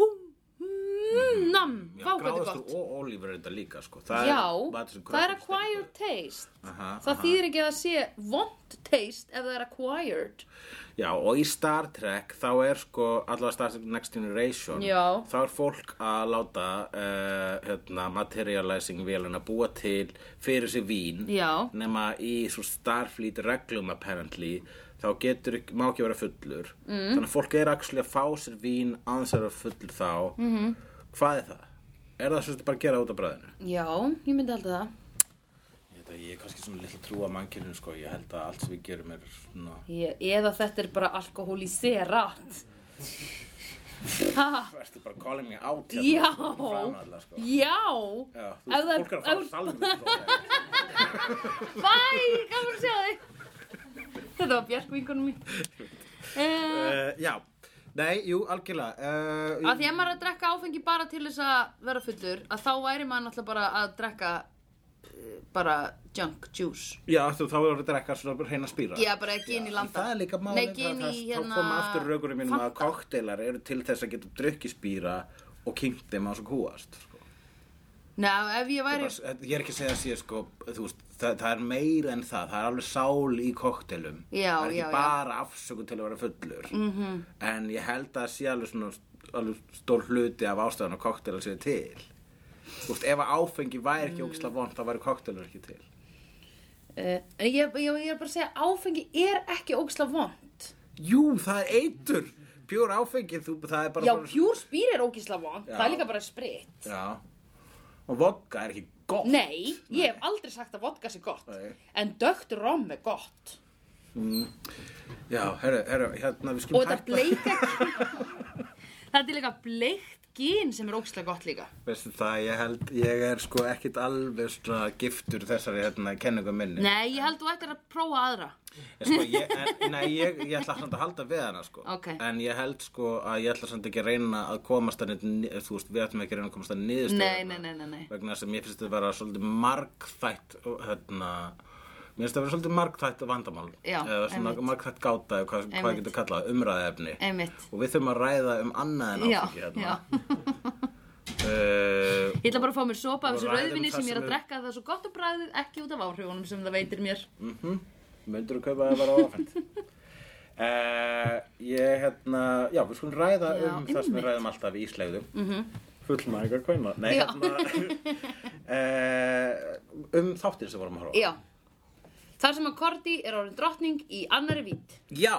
[SPEAKER 3] húm, mm, nam,
[SPEAKER 1] Mhm. Já,
[SPEAKER 3] vákvæði
[SPEAKER 1] gráðastur
[SPEAKER 3] gott.
[SPEAKER 1] og Ólífur er þetta líka sko. það
[SPEAKER 3] Já,
[SPEAKER 1] matur sem
[SPEAKER 3] það er
[SPEAKER 1] krökkum
[SPEAKER 3] acquired taste.
[SPEAKER 1] stendur. Aha,
[SPEAKER 3] Það
[SPEAKER 1] aha.
[SPEAKER 3] þýðir ekki að það sé vond taste ef það er acquired.
[SPEAKER 1] Já, og í Star Trek þá er sko allavega Star Trek Next Generation
[SPEAKER 3] Já.
[SPEAKER 1] þá er fólk að láta uh, hérna, materializing vélun að búa til fyrir sig vín
[SPEAKER 3] Já.
[SPEAKER 1] nema í svo Starfleet reglum apparently þá getur, ekki- má ekki vera fullur mm. þannig að fólk er actually að fá sér vín aðeins að vera fullur þá mm
[SPEAKER 3] Mhm.
[SPEAKER 1] -hmm. hvað er það? Er það svo þetta bara að gera út af bræðinu?
[SPEAKER 3] Já, ég myndi alltaf það.
[SPEAKER 1] Ég, veit að ég er kannski svona litla trú að mannkyninu sko, ég held að allt sem við gerum er svona...
[SPEAKER 3] Ég, eða þetta er bara alkohóliserat. Ha,
[SPEAKER 1] Ertu bara calling me out hérna.
[SPEAKER 3] já,
[SPEAKER 1] framan alla, sko.
[SPEAKER 3] já,
[SPEAKER 1] Já,
[SPEAKER 3] Ef
[SPEAKER 1] þú
[SPEAKER 3] það-
[SPEAKER 1] veist, fólk er að fara
[SPEAKER 3] ef- [laughs]
[SPEAKER 1] salmi sko.
[SPEAKER 3] bæ, gaman að sjá þig. Þetta var Björk vinkunum mín.
[SPEAKER 1] [laughs]
[SPEAKER 3] Uh,
[SPEAKER 1] uh, Já, nei, jú, algjörlega uh,
[SPEAKER 3] að því að maður er að drekka áfengi bara til þess að vera fullur, að þá væri maður náttúrulega bara að drekka eh, bara junk juice
[SPEAKER 1] Já, þú, þá voru að drekka svona reyna spýra.
[SPEAKER 3] Já, bara gin í landa
[SPEAKER 1] Það er líka málið.
[SPEAKER 3] Nei, gin í
[SPEAKER 1] Þá
[SPEAKER 3] hérna
[SPEAKER 1] koma aftur raukurinn mínum að
[SPEAKER 3] Fanta.
[SPEAKER 1] kokteilar eru til þess að geta drukkið spýra og kynkt þeim að svo kúast. Sko.
[SPEAKER 3] Nei, ef ég væri
[SPEAKER 1] Bara, ég er ekki að segja að sé, sko, þú veist, það, það er meira en það. Það er alveg sál í kokteilum.
[SPEAKER 3] Já,
[SPEAKER 1] Það er
[SPEAKER 3] já, Mhm. já.
[SPEAKER 1] ekki bara afsökun til að vera fullur. Mm -hmm. En ég held að það sé alveg svona alveg stór hluti af ástæðan að kokteilar séu til. Þú veist, ef að áfengi væri ekki mm. ógislega vond, þá væri kokteilar ekki til.
[SPEAKER 3] Uh, en ég, ég, ég er bara að segja áfengi er ekki ógisla vond
[SPEAKER 1] Jú, það er eitur Pjór áfengi, þú, það er bara
[SPEAKER 3] já,
[SPEAKER 1] bara-
[SPEAKER 3] pjúr spýr er ógisla vond
[SPEAKER 1] Já.
[SPEAKER 3] það er líka bara spritt
[SPEAKER 1] Já Og vodka er ekki gott
[SPEAKER 3] nei, ég hef aldrei sagt að vodka sé gott
[SPEAKER 1] Nei.
[SPEAKER 3] en dögt rom er gott
[SPEAKER 1] Já, herru, herru, hérna við
[SPEAKER 3] og
[SPEAKER 1] skulum
[SPEAKER 3] þetta bleika [laughs] þetta er líka bleikt gin sem er ógisla gott líka
[SPEAKER 1] Veistu það, ég held, ég er sko ekkit alveg svona giftur þessari hérna kenningu minni
[SPEAKER 3] nei, ég held þú ættir að prófa aðra
[SPEAKER 1] En Sko, ég, en, nei, ég, ég ætla samt að halda við hana sko.
[SPEAKER 3] Ok.
[SPEAKER 1] En ég held sko að ég ætla samt ekki að reyna að komast að neitt, þú veist, við ætlum ekki að reyna að komast að niðurstöðu
[SPEAKER 3] Nei,
[SPEAKER 1] hérna.
[SPEAKER 3] nei, nei, nei, nei.
[SPEAKER 1] Vegna þess að mér finnst þetta að vera svolítið margþætt og, hérna, Mér finnst þetta að vera svolítið margþætt vandamál
[SPEAKER 3] Já,
[SPEAKER 1] Eða svona
[SPEAKER 3] einmitt.
[SPEAKER 1] margþætt gáta, eða hvað, hvað
[SPEAKER 3] Einmitt.
[SPEAKER 1] getur kallað, umræðaefni
[SPEAKER 3] einmitt
[SPEAKER 1] Og við þurfum að ræða um annað en
[SPEAKER 3] já,
[SPEAKER 1] áfengi
[SPEAKER 3] já.
[SPEAKER 1] hérna. Uh,
[SPEAKER 3] ég ætla bara að fá mér sopa af
[SPEAKER 1] Og
[SPEAKER 3] þessu
[SPEAKER 1] ræðum
[SPEAKER 3] rauðvinni
[SPEAKER 1] það
[SPEAKER 3] sem ég er að
[SPEAKER 1] sem er-
[SPEAKER 3] drekka það er svo gott og bræðið ekki út af áhrifunum sem það veitir mér
[SPEAKER 1] Myndur þú kaupa það bara ofent?
[SPEAKER 3] [laughs]
[SPEAKER 1] uh, ég, hérna, já, við skulum ræða
[SPEAKER 3] Já,
[SPEAKER 1] um það sem
[SPEAKER 3] einmitt. Mhm.
[SPEAKER 1] við ræðum alltaf í íslegðum. Mm -hmm. Fullnæg að kvæma. Nei,
[SPEAKER 3] Já. [laughs]
[SPEAKER 1] hérna, uh, um þáttir sem vorum að horfa. á.
[SPEAKER 3] Já. Þar sem að Korti er orðin drottning í annari vít.
[SPEAKER 1] Já,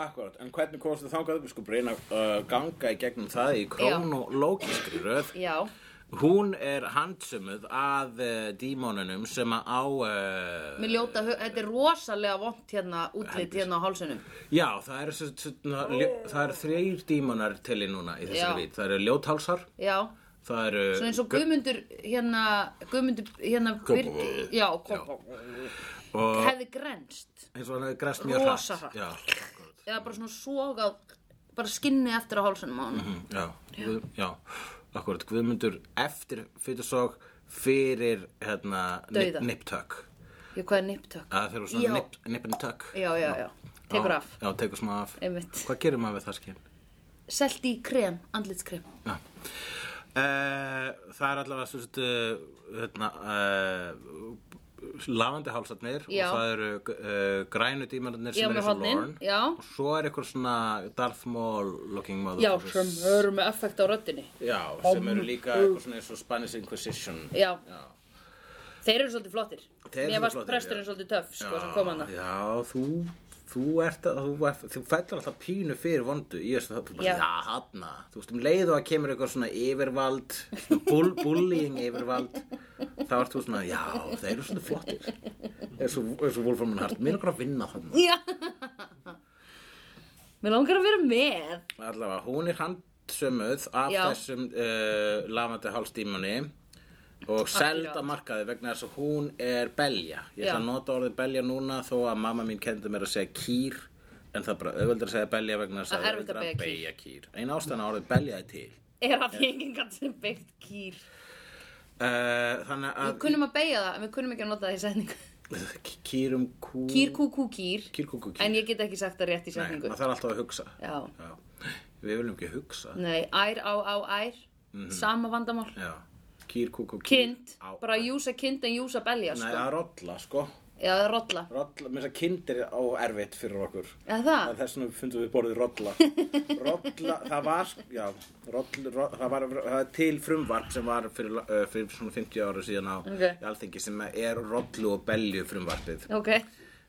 [SPEAKER 1] akkurat. En hvernig komstu þangað? Við skulum reyna að uh, ganga í gegnum það í krónológiskri röð.
[SPEAKER 3] Já.
[SPEAKER 1] Hún er handsömuð að uh, dímonunum sem að á... Uh,
[SPEAKER 3] Mér ljóta, hu- þetta er rosalega vont hérna útlit
[SPEAKER 1] Heldur.
[SPEAKER 3] hérna á hálsunum.
[SPEAKER 1] Já, það eru, svo- svona, ljó- það eru þrjir dímonar til í núna
[SPEAKER 3] Já.
[SPEAKER 1] í þessari vít. Það eru ljótálsar,
[SPEAKER 3] Já.
[SPEAKER 1] það eru...
[SPEAKER 3] Svona eins og Guðmundur hérna, Guðmundur hérna Birgi, já, Kópó,
[SPEAKER 1] og
[SPEAKER 3] hefði grenst.
[SPEAKER 1] eins og hann hefði græst mjög
[SPEAKER 3] Rosa hratt.
[SPEAKER 1] Já, akkurat.
[SPEAKER 3] Eða bara svona sogað, bara skinni eftir á hálsunum á hann.
[SPEAKER 1] Mm, já, Guð, já, akkurat. Guðmundur eftir fytusog fyrir hérna,
[SPEAKER 3] Dauða.
[SPEAKER 1] nip-tuck.
[SPEAKER 3] Ég hvað er niptök?
[SPEAKER 1] Það þegar
[SPEAKER 3] Já.
[SPEAKER 1] svona nip-and-tuck.
[SPEAKER 3] Já, já, já. Tekur af.
[SPEAKER 1] Já, tekur smá af.
[SPEAKER 3] Einmitt.
[SPEAKER 1] Hvað gerir maður við það skinn?
[SPEAKER 3] Selt í krem, andlitskrem.
[SPEAKER 1] Já. Eh, það er allavega svo sett hérna, uh, lafandi hálsarnir
[SPEAKER 3] Já.
[SPEAKER 1] og það eru uh, grænu dímarnir
[SPEAKER 3] Já,
[SPEAKER 1] sem
[SPEAKER 3] með
[SPEAKER 1] eru svo
[SPEAKER 3] hornin,
[SPEAKER 1] lorn
[SPEAKER 3] já.
[SPEAKER 1] og svo er eitthvað svona Darth Maul looking mother
[SPEAKER 3] Já, sem eru með effekt á röddinni.
[SPEAKER 1] já, sem eru líka eitthvað svona eins og Spanish Inquisition
[SPEAKER 3] Já. Þeir eru svolítið flottir.
[SPEAKER 1] Þeir eru
[SPEAKER 3] Mér varst
[SPEAKER 1] flottir,
[SPEAKER 3] presturinn
[SPEAKER 1] já.
[SPEAKER 3] svolítið töff, sko, sem kom hana.
[SPEAKER 1] já, þú Þú ert að, þú, ert, þú fellur alltaf pínu fyrir vondu í þessu það, þú bara,
[SPEAKER 3] Já.
[SPEAKER 1] já, hafna, þú veist, um leið og að kemur eitthvað svona yfirvald, svona bull, bullying yfirvald, þá ert þú svona, já, þeir eru svona flottir, eins og, eins og Wolfram and Hart, mér er okkur að vinna þarna.
[SPEAKER 3] Já. [laughs] Mér langar að vera með.
[SPEAKER 1] Allavega, hún er handsömuð af
[SPEAKER 3] Já.
[SPEAKER 1] þessum uh, lafandi hálsdímunni og seld að markaði vegna þess að hún er belja. Ég ætla
[SPEAKER 3] Já.
[SPEAKER 1] að nota orðið belja núna þó að mamma mín kendi mér að segja kýr en það er bara auðveldur að segja belja vegna þess
[SPEAKER 3] Það
[SPEAKER 1] að
[SPEAKER 3] er erfitt að
[SPEAKER 1] auðveldara
[SPEAKER 3] beygja
[SPEAKER 1] beygja kýr. Ein ástæðan að orðið belja er til.
[SPEAKER 3] Er að því enginn gatt sem beitt kýr.
[SPEAKER 1] Uh, þannig
[SPEAKER 3] Við
[SPEAKER 1] að
[SPEAKER 3] kunnum að beigja það, en við kunnum ekki að nota það í setningu.
[SPEAKER 1] k- kýrum kú...
[SPEAKER 3] Kýr, kú, kú, kýr.
[SPEAKER 1] Kýrkúkú kýr.
[SPEAKER 3] En ég get ekki sagt það rétt í
[SPEAKER 1] Nei,
[SPEAKER 3] setningu.
[SPEAKER 1] maður þarf alltaf að hugsa.
[SPEAKER 3] Já. Mm.
[SPEAKER 1] Já. Við viljum ekki hugsa.
[SPEAKER 3] Nei, ær á á ær. Sama vandamál.
[SPEAKER 1] Já. Kýrkúkú kýr.
[SPEAKER 3] Kind.
[SPEAKER 1] Mhm. Á-
[SPEAKER 3] Bara að júsa kind en júsa belja,
[SPEAKER 1] Nei,
[SPEAKER 3] sko.
[SPEAKER 1] að rolla, sko.
[SPEAKER 3] Já, það er rolla.
[SPEAKER 1] Rolla, mér finnst að kindir er á erfitt fyrir okkur.
[SPEAKER 3] Eða
[SPEAKER 1] Það er
[SPEAKER 3] það?
[SPEAKER 1] þess vegna fundum við
[SPEAKER 3] [laughs]
[SPEAKER 1] borðið rolla. Rolla, það var, sk- já, roll, roll, það var það er til frumvarp sem var fyrir, uh, fyrir svona 50 ára síðan á
[SPEAKER 3] Ok.
[SPEAKER 1] í Alþingi sem er rollu og belju frumvarpið.
[SPEAKER 3] Ok.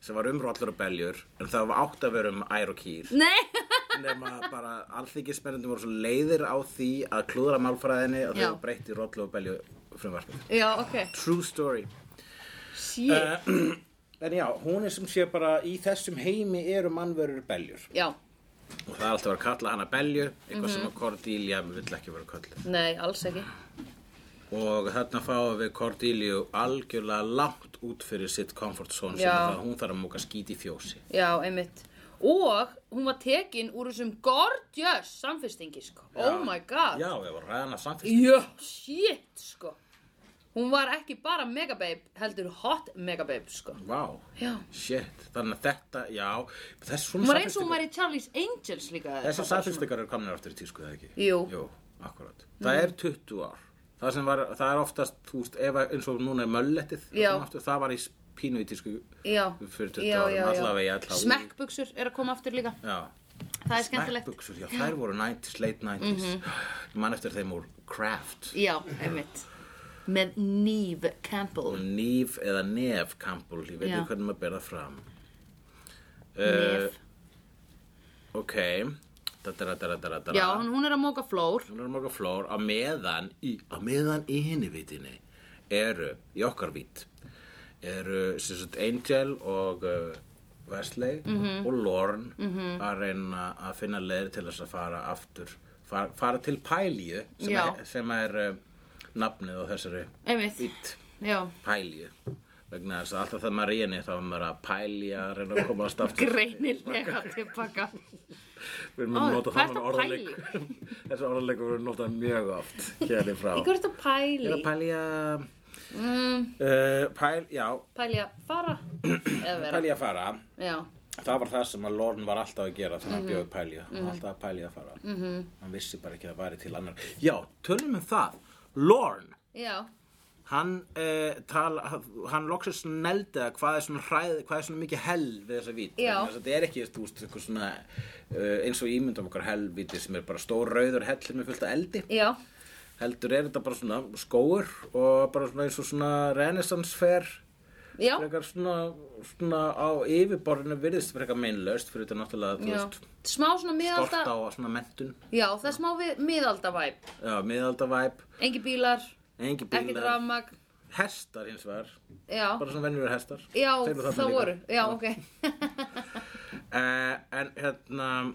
[SPEAKER 1] Sem var um rollur og beljur, en það var átt að vera um ær og
[SPEAKER 3] [laughs]
[SPEAKER 1] kýr.
[SPEAKER 3] Nei.
[SPEAKER 1] Nefna bara alþingismennandi voru svo leiðir á því að klúðra málfræðinni og
[SPEAKER 3] Já.
[SPEAKER 1] þau breytti rollu og belju frumvarpið.
[SPEAKER 3] Já, ok.
[SPEAKER 1] True story.
[SPEAKER 3] Shit.
[SPEAKER 1] Eh. En já, hún er sem sé bara í þessum heimi eru mannverur beljur.
[SPEAKER 3] Já.
[SPEAKER 1] Og það er alltaf að kalla hana belju, eitthvað
[SPEAKER 3] Mhm.
[SPEAKER 1] sem að Cordelia vill ekki vera kallið.
[SPEAKER 3] Nei, alls ekki.
[SPEAKER 1] Og þarna fáum við Cordelia algjörlega langt út fyrir sitt comfort zone sem
[SPEAKER 3] Já.
[SPEAKER 1] er það að hún þarf að móka skít í fjósi.
[SPEAKER 3] Já, einmitt. Og hún var tekin úr þessum gorgeous samfestingi, sko. Oh my god.
[SPEAKER 1] Já, við varum ræðan að samfélst.
[SPEAKER 3] Já, shit, sko. Hún var ekki bara megababe, heldur hot megababe, sko.
[SPEAKER 1] Vá,
[SPEAKER 3] Já.
[SPEAKER 1] shit, þannig að þetta, já, þess
[SPEAKER 3] Hún
[SPEAKER 1] svona
[SPEAKER 3] var eins og hún
[SPEAKER 1] staðfestingar-
[SPEAKER 3] var í Charlie's Angels líka.
[SPEAKER 1] Þessar staðfyrstekar eru komnir aftur í tísku, eða ekki?
[SPEAKER 3] Jú. Mhm.
[SPEAKER 1] Jú, akkurat. Það er 20 ár. Það, sem var, það er oftast, þú veist, ef, að- eins og núna er möllettið, að
[SPEAKER 3] Já.
[SPEAKER 1] koma aftur, það var í s- pínu í tísku
[SPEAKER 3] Já.
[SPEAKER 1] fyrir 20
[SPEAKER 3] Já,
[SPEAKER 1] árum,
[SPEAKER 3] já, já.
[SPEAKER 1] allavega í alla
[SPEAKER 3] Smekkbuxur er að koma aftur líka.
[SPEAKER 1] Já.
[SPEAKER 3] Það er skemmtilegt. Mhm.
[SPEAKER 1] Smekkbuxur, já, þær voru 90s, late 90s. Ég man eftir þeim úr Kraft
[SPEAKER 3] Já, einmitt. Með Neve
[SPEAKER 1] og
[SPEAKER 3] Campbell.
[SPEAKER 1] Nýf eða Nef Campbell, ég veit
[SPEAKER 3] Já.
[SPEAKER 1] ekki hvernig maður berða fram. Eh,
[SPEAKER 3] Neve.
[SPEAKER 1] Ok, da-da-da-da-da-da-da.
[SPEAKER 3] Já, hún, hún er að móka flór.
[SPEAKER 1] Hún er morga flór á meðan í, á meðan í henni vitinni eru, í okkar vít eru sem sagt Angel og uh, Wesley
[SPEAKER 3] Mhm.
[SPEAKER 1] og Lorne að reyna að finna leir til þess að fara aftur fara, fara til Pælíu sem
[SPEAKER 3] Já.
[SPEAKER 1] er, sem er uh, nafnið á þessari
[SPEAKER 3] Einmitt.
[SPEAKER 1] vít
[SPEAKER 3] Já.
[SPEAKER 1] Pælíu vegna þess að alltaf það maður í henni þá er maður að pælja að reyna að komast aftur
[SPEAKER 3] Greinilega tilbaka.
[SPEAKER 1] við
[SPEAKER 3] Ó,
[SPEAKER 1] munum nota
[SPEAKER 3] hvað
[SPEAKER 1] þannig
[SPEAKER 3] ertu að
[SPEAKER 1] orðaleg [laughs] þessi orðaleg voru notað mjög oft hérna frá
[SPEAKER 3] Í hverju þetta
[SPEAKER 1] Ég er
[SPEAKER 3] pæli?
[SPEAKER 1] að pælja
[SPEAKER 3] Mm,
[SPEAKER 1] uh, Pæl, já,
[SPEAKER 3] pæli að fara? Eða vera?
[SPEAKER 1] pælja að fara
[SPEAKER 3] Já.
[SPEAKER 1] Það var það sem að Lorne var alltaf að gera þannig að
[SPEAKER 3] Mhm.
[SPEAKER 1] bjóði pælja, mm -hmm. alltaf að pælja að fara -hmm. Hann vissi bara ekki að það væri til annar Já, tölum um það Lorne,
[SPEAKER 3] Já.
[SPEAKER 1] hann eh, tala, hann loksir sneldi að hvað er svona hræð, hvað er svona mikið hell við þessa vít,
[SPEAKER 3] Já.
[SPEAKER 1] Vegna þess að þetta er ekki þú veist, einhver svona, uh, eins og ímyndum okkar hellvíti sem er bara stór rauður hell með fullt af eldi
[SPEAKER 3] Já.
[SPEAKER 1] heldur er þetta bara svona skóur og bara svona eins og svona renaissance fair
[SPEAKER 3] Já.
[SPEAKER 1] frekar svona, svona á yfirborðinu virðist frekar meinlaust fyrir þetta náttúrulega þú
[SPEAKER 3] Já.
[SPEAKER 1] veist,
[SPEAKER 3] Smá svona
[SPEAKER 1] skort
[SPEAKER 3] miðalda.
[SPEAKER 1] á svona mentun
[SPEAKER 3] Já, það er smá við miðalda væp.
[SPEAKER 1] já, miðaldavæp,
[SPEAKER 3] Engi bílar,
[SPEAKER 1] engi
[SPEAKER 3] ekkert
[SPEAKER 1] bílar
[SPEAKER 3] rafmagn.
[SPEAKER 1] hestar hins vegar,
[SPEAKER 3] Já.
[SPEAKER 1] bara svona venjur hestar
[SPEAKER 3] Já,
[SPEAKER 1] Þeir eru þarna
[SPEAKER 3] það
[SPEAKER 1] líka.
[SPEAKER 3] voru. Já, ok.
[SPEAKER 1] Eh, en hérna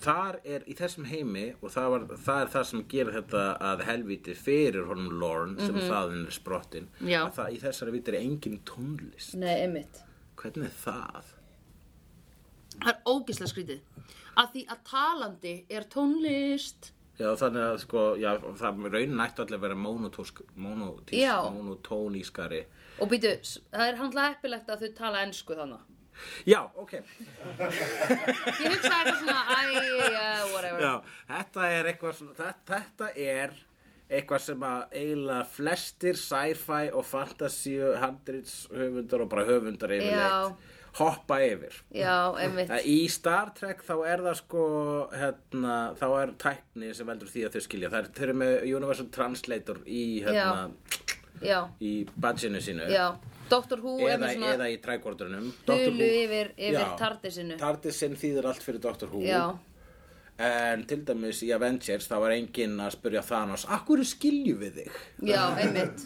[SPEAKER 1] þar er í þessum heimi og það, var, það er það sem gerir þetta að helvíti fyrir honum Lorne sem mm -hmm. þaðin er sprottin
[SPEAKER 3] Mhm. Já.
[SPEAKER 1] að það í þessari viti er engin tónlist
[SPEAKER 3] Nei, einmitt.
[SPEAKER 1] hvernig er það?
[SPEAKER 3] Það er ógislega skrítið. Að því að talandi er tónlist.
[SPEAKER 1] Já, þannig að sko, já, það raunin ætti allir að vera monotósk, monotísk,
[SPEAKER 3] Já.
[SPEAKER 1] monotónískari.
[SPEAKER 3] Og býtu, s- það er handla eppilegt að þau tala ensku þannig.
[SPEAKER 1] Já, ok.
[SPEAKER 3] Ég hugsaði eitthvað svona, æ, yeah, whatever.
[SPEAKER 1] Já, þetta er eitthvað svona, þetta, þetta er eitthvað sem að eiginlega flestir sci-fi og fantasíu handrits höfundar og bara höfundar
[SPEAKER 3] Já.
[SPEAKER 1] yfirleitt hoppa yfir.
[SPEAKER 3] Já, einmitt.
[SPEAKER 1] Að Í Star Trek þá er það sko, hérna, þá er tækni sem veldur því að þau skilja. Það er, þau eru með Universal Translator í, hérna,
[SPEAKER 3] Já,
[SPEAKER 1] í badginu sínu.
[SPEAKER 3] já. Dr. Who er
[SPEAKER 1] eða,
[SPEAKER 3] með svona
[SPEAKER 1] eða í trækvordunum
[SPEAKER 3] hulu yfir, yfir tardisinu.
[SPEAKER 1] Tardisinn þýðir allt fyrir Doctor Who
[SPEAKER 3] Já,
[SPEAKER 1] En til dæmis í Avengers þá var enginn að spurja Thanos Akkur skiljum við þig?
[SPEAKER 3] já, einmitt.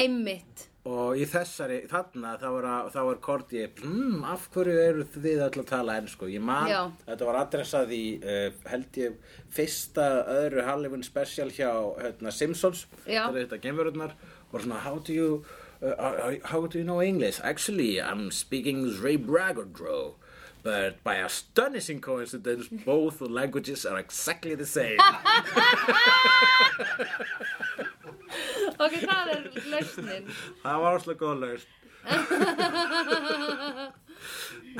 [SPEAKER 3] Einmitt.
[SPEAKER 1] Og í þessari, þarna, þá var, að- þá var Korti mm, Af hverju eru þið öll að tala ensku? Ég man,
[SPEAKER 3] Já.
[SPEAKER 1] þetta var adressað í uh, held ég fyrsta öðru Halloween special hjá hérna, Simpsons
[SPEAKER 3] Já.
[SPEAKER 1] Þegar þetta genverurnar Og svona, how do you, uh, are- how do you know English? Actually, I'm speaking Ray Braggadro But by astonishing coincidence, both languages are exactly
[SPEAKER 3] [laughs]
[SPEAKER 1] the same.
[SPEAKER 3] Ok, það er lausnin.
[SPEAKER 1] það var óslega góð laust.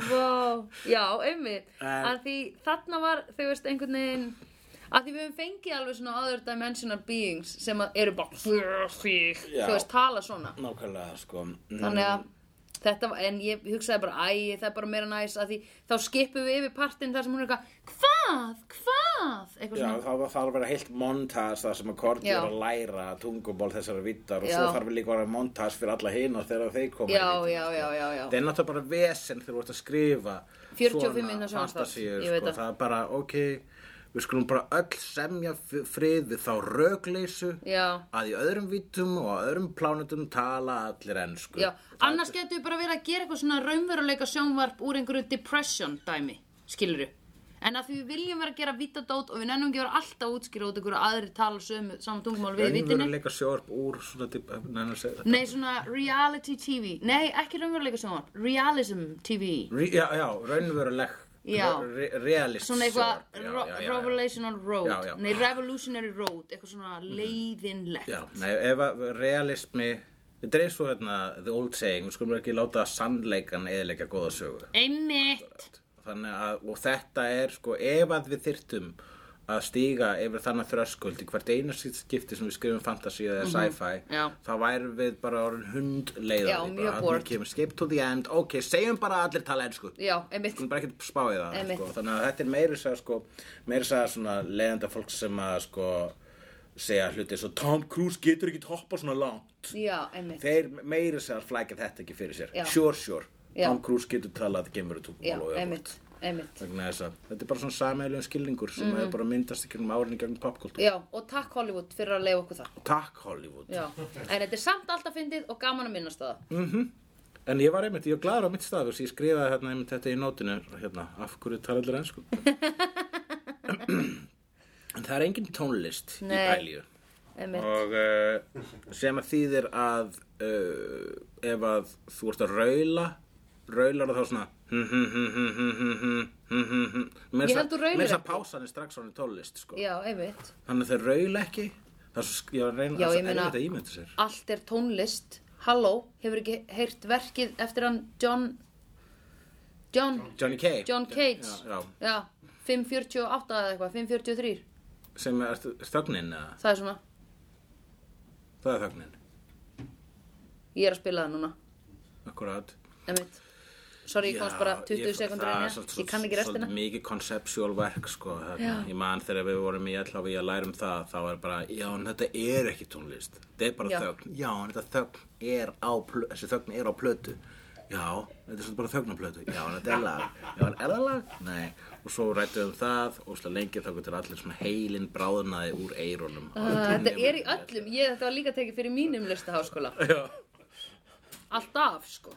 [SPEAKER 3] Vá, já, einmitt
[SPEAKER 1] En-
[SPEAKER 3] að því þarna var, þú veist, einhvern veginn að því við höfum fengið alveg svona other dimensional beings sem að eru bara þú
[SPEAKER 1] Já.
[SPEAKER 3] veist, tala svona
[SPEAKER 1] Nákvæmlega, sko.
[SPEAKER 3] þannig að þetta var, en ég hugsaði bara æ, það er bara meira næs að því þá skipum við yfir partinn þar sem hún er eitthvað hvað, hvað, eitthvað
[SPEAKER 1] Já,
[SPEAKER 3] svona
[SPEAKER 1] það var þarf að vera heilt montas þar sem að Korti
[SPEAKER 3] Já.
[SPEAKER 1] er að læra tungumál þessara vittar og
[SPEAKER 3] Já.
[SPEAKER 1] svo þarf líka að vera montas fyrir alla hina þegar þeir koma í
[SPEAKER 3] já,
[SPEAKER 1] víddina,
[SPEAKER 3] já, já, já, já,
[SPEAKER 1] Það er náttúrulega bara vesen þegar þú ert að skrifa
[SPEAKER 3] 45
[SPEAKER 1] svona
[SPEAKER 3] mínútna sjónvarpsþátt,
[SPEAKER 1] fantasíur,
[SPEAKER 3] ég veit
[SPEAKER 1] sko.
[SPEAKER 3] það.
[SPEAKER 1] Það er bara, ok, við skulum bara öll semja f- frið við þá rögleysu
[SPEAKER 3] já.
[SPEAKER 1] að í öðrum vítum og á öðrum plánutum tala allir ennsku.
[SPEAKER 3] Já, annars getur við bara verið að gera eitthvað svona raunveruleika sjónvarp úr einhverju depression dæmi, skilur En að því við viljum vera að gera vitadót og við nennum ekki að vera alltaf að útskýra út einhverju aðri tala sömu, saman tungumál við í vitinni.
[SPEAKER 1] Raunveruleika sjórp úr svona, dip- neina að segja þetta.
[SPEAKER 3] Nei, svona reality TV. Nei, ekki raunveruleika sjónvarp. Realism TV.
[SPEAKER 1] Rí- Já, já, raunveruleik
[SPEAKER 3] Já.
[SPEAKER 1] Re realist
[SPEAKER 3] Svona eitthvað
[SPEAKER 1] syrup. Já,
[SPEAKER 3] ro-
[SPEAKER 1] já, já, já.
[SPEAKER 3] revolutional road,
[SPEAKER 1] Já, já.
[SPEAKER 3] nei revolutionary road, eitthvað svona leiðinlegt.
[SPEAKER 1] Já, nei, ef að realismi Þetta er eins og hérna, the old saying, við skulum ekki láta sannleikan eðilegja góða sögu.
[SPEAKER 3] Einmitt.
[SPEAKER 1] Þannig að, og þetta er sko, ef að við þyrtum að stíga yfir þannig þröskuld í hvert einu skipti sem við skrifum fantasy eða sci-fi,
[SPEAKER 3] Mhm, já.
[SPEAKER 1] þá værum við bara orðin hundleiðar.
[SPEAKER 3] Já, mjög bored.
[SPEAKER 1] kemur skip to the end, ok, segjum bara að allir tala ennsku.
[SPEAKER 3] Já, einmitt.
[SPEAKER 1] Skulum bara ekkert spá í það,
[SPEAKER 3] Einmitt.
[SPEAKER 1] sko. Þannig að þetta er meiri sagði, sko, meiri sagði svona leiðanda fólk sem að, sko, segja hluti svo Tom Cruise getur ekki hoppa svona langt.
[SPEAKER 3] Já, einmitt.
[SPEAKER 1] Þeir meiri sagði flækja þetta ekki fyrir sér.
[SPEAKER 3] Já.
[SPEAKER 1] Sure, sure.
[SPEAKER 3] Já.
[SPEAKER 1] Tom Cruise getur talað gemur og
[SPEAKER 3] Já,
[SPEAKER 1] tungumál og öfugt.
[SPEAKER 3] einmitt, einmitt.
[SPEAKER 1] vegna þess að þetta er bara svona sameiglum skilningur sem mm -hmm. bara myndast í kjörnum árinni gegn popkultúr.
[SPEAKER 3] Mhm. Já, og takk Hollywood fyrir að leiða okkur það.
[SPEAKER 1] Takk Hollywood.
[SPEAKER 3] Já, en þetta er samt alltaf fyndið og gaman að minnast á það.
[SPEAKER 1] En ég var einmitt, ég var glaður á mitt stað þess að ég skrifaði hérna einmitt þetta í nótinu, hérna, af hverju tala allir ennsku.
[SPEAKER 3] [laughs]
[SPEAKER 1] en það er engin tónlist
[SPEAKER 3] Nei.
[SPEAKER 1] í ælju.
[SPEAKER 3] Einmitt.
[SPEAKER 1] Og uh, sem að þýðir að uh, ef að þú ert að raula, raular þá svona "Hm,
[SPEAKER 3] Ég held þú raulir
[SPEAKER 1] Mér hm, þess að
[SPEAKER 3] ekki.
[SPEAKER 1] pásan er strax svona tónlist, sko.
[SPEAKER 3] Já, einmitt.
[SPEAKER 1] Þannig að þeir raula ekki Það er svo sk- ég var að
[SPEAKER 3] Já,
[SPEAKER 1] reyna það er
[SPEAKER 3] ég
[SPEAKER 1] svo
[SPEAKER 3] meina-
[SPEAKER 1] erfitt að ímynda sér
[SPEAKER 3] Allt er tónlist. Halló, hefur ekki heyrt verkið eftir hann John... John...
[SPEAKER 1] Johnny Cage,
[SPEAKER 3] John Cage.
[SPEAKER 1] Já, já.
[SPEAKER 3] Já, 548 eða eitthvað, 543.
[SPEAKER 1] sem er er þögnin eða
[SPEAKER 3] Það er svona,
[SPEAKER 1] það er þögnin,
[SPEAKER 3] ég er að spila það núna.
[SPEAKER 1] akkurat
[SPEAKER 3] Einmitt. Sorry, ég komst bara 20 sekundur
[SPEAKER 1] það er
[SPEAKER 3] inn.
[SPEAKER 1] svolítið-
[SPEAKER 3] Ég kann ekki restina.
[SPEAKER 1] Svolítið mikið conceptual verk sko, þarna. ég man þegar við vorum í ætla við að læra um það, þá er bara já, en þetta er ekki tónlist, þetta er bara
[SPEAKER 3] Já.
[SPEAKER 1] þögn já, en þetta þögn er á plötu þessi þögn er á plötu já, þetta er svolítið bara þögn á plötu, já, en þetta er lag já, en er það lag? Nei og svo rættum við um það, og svo lengi þá getur allir svona heilin bráðnaði úr eyrunum
[SPEAKER 3] Uh, Þetta er í öllum, ég þetta var líka tekið fyrir mínum listaháskóla
[SPEAKER 1] Já.
[SPEAKER 3] Alltaf, sko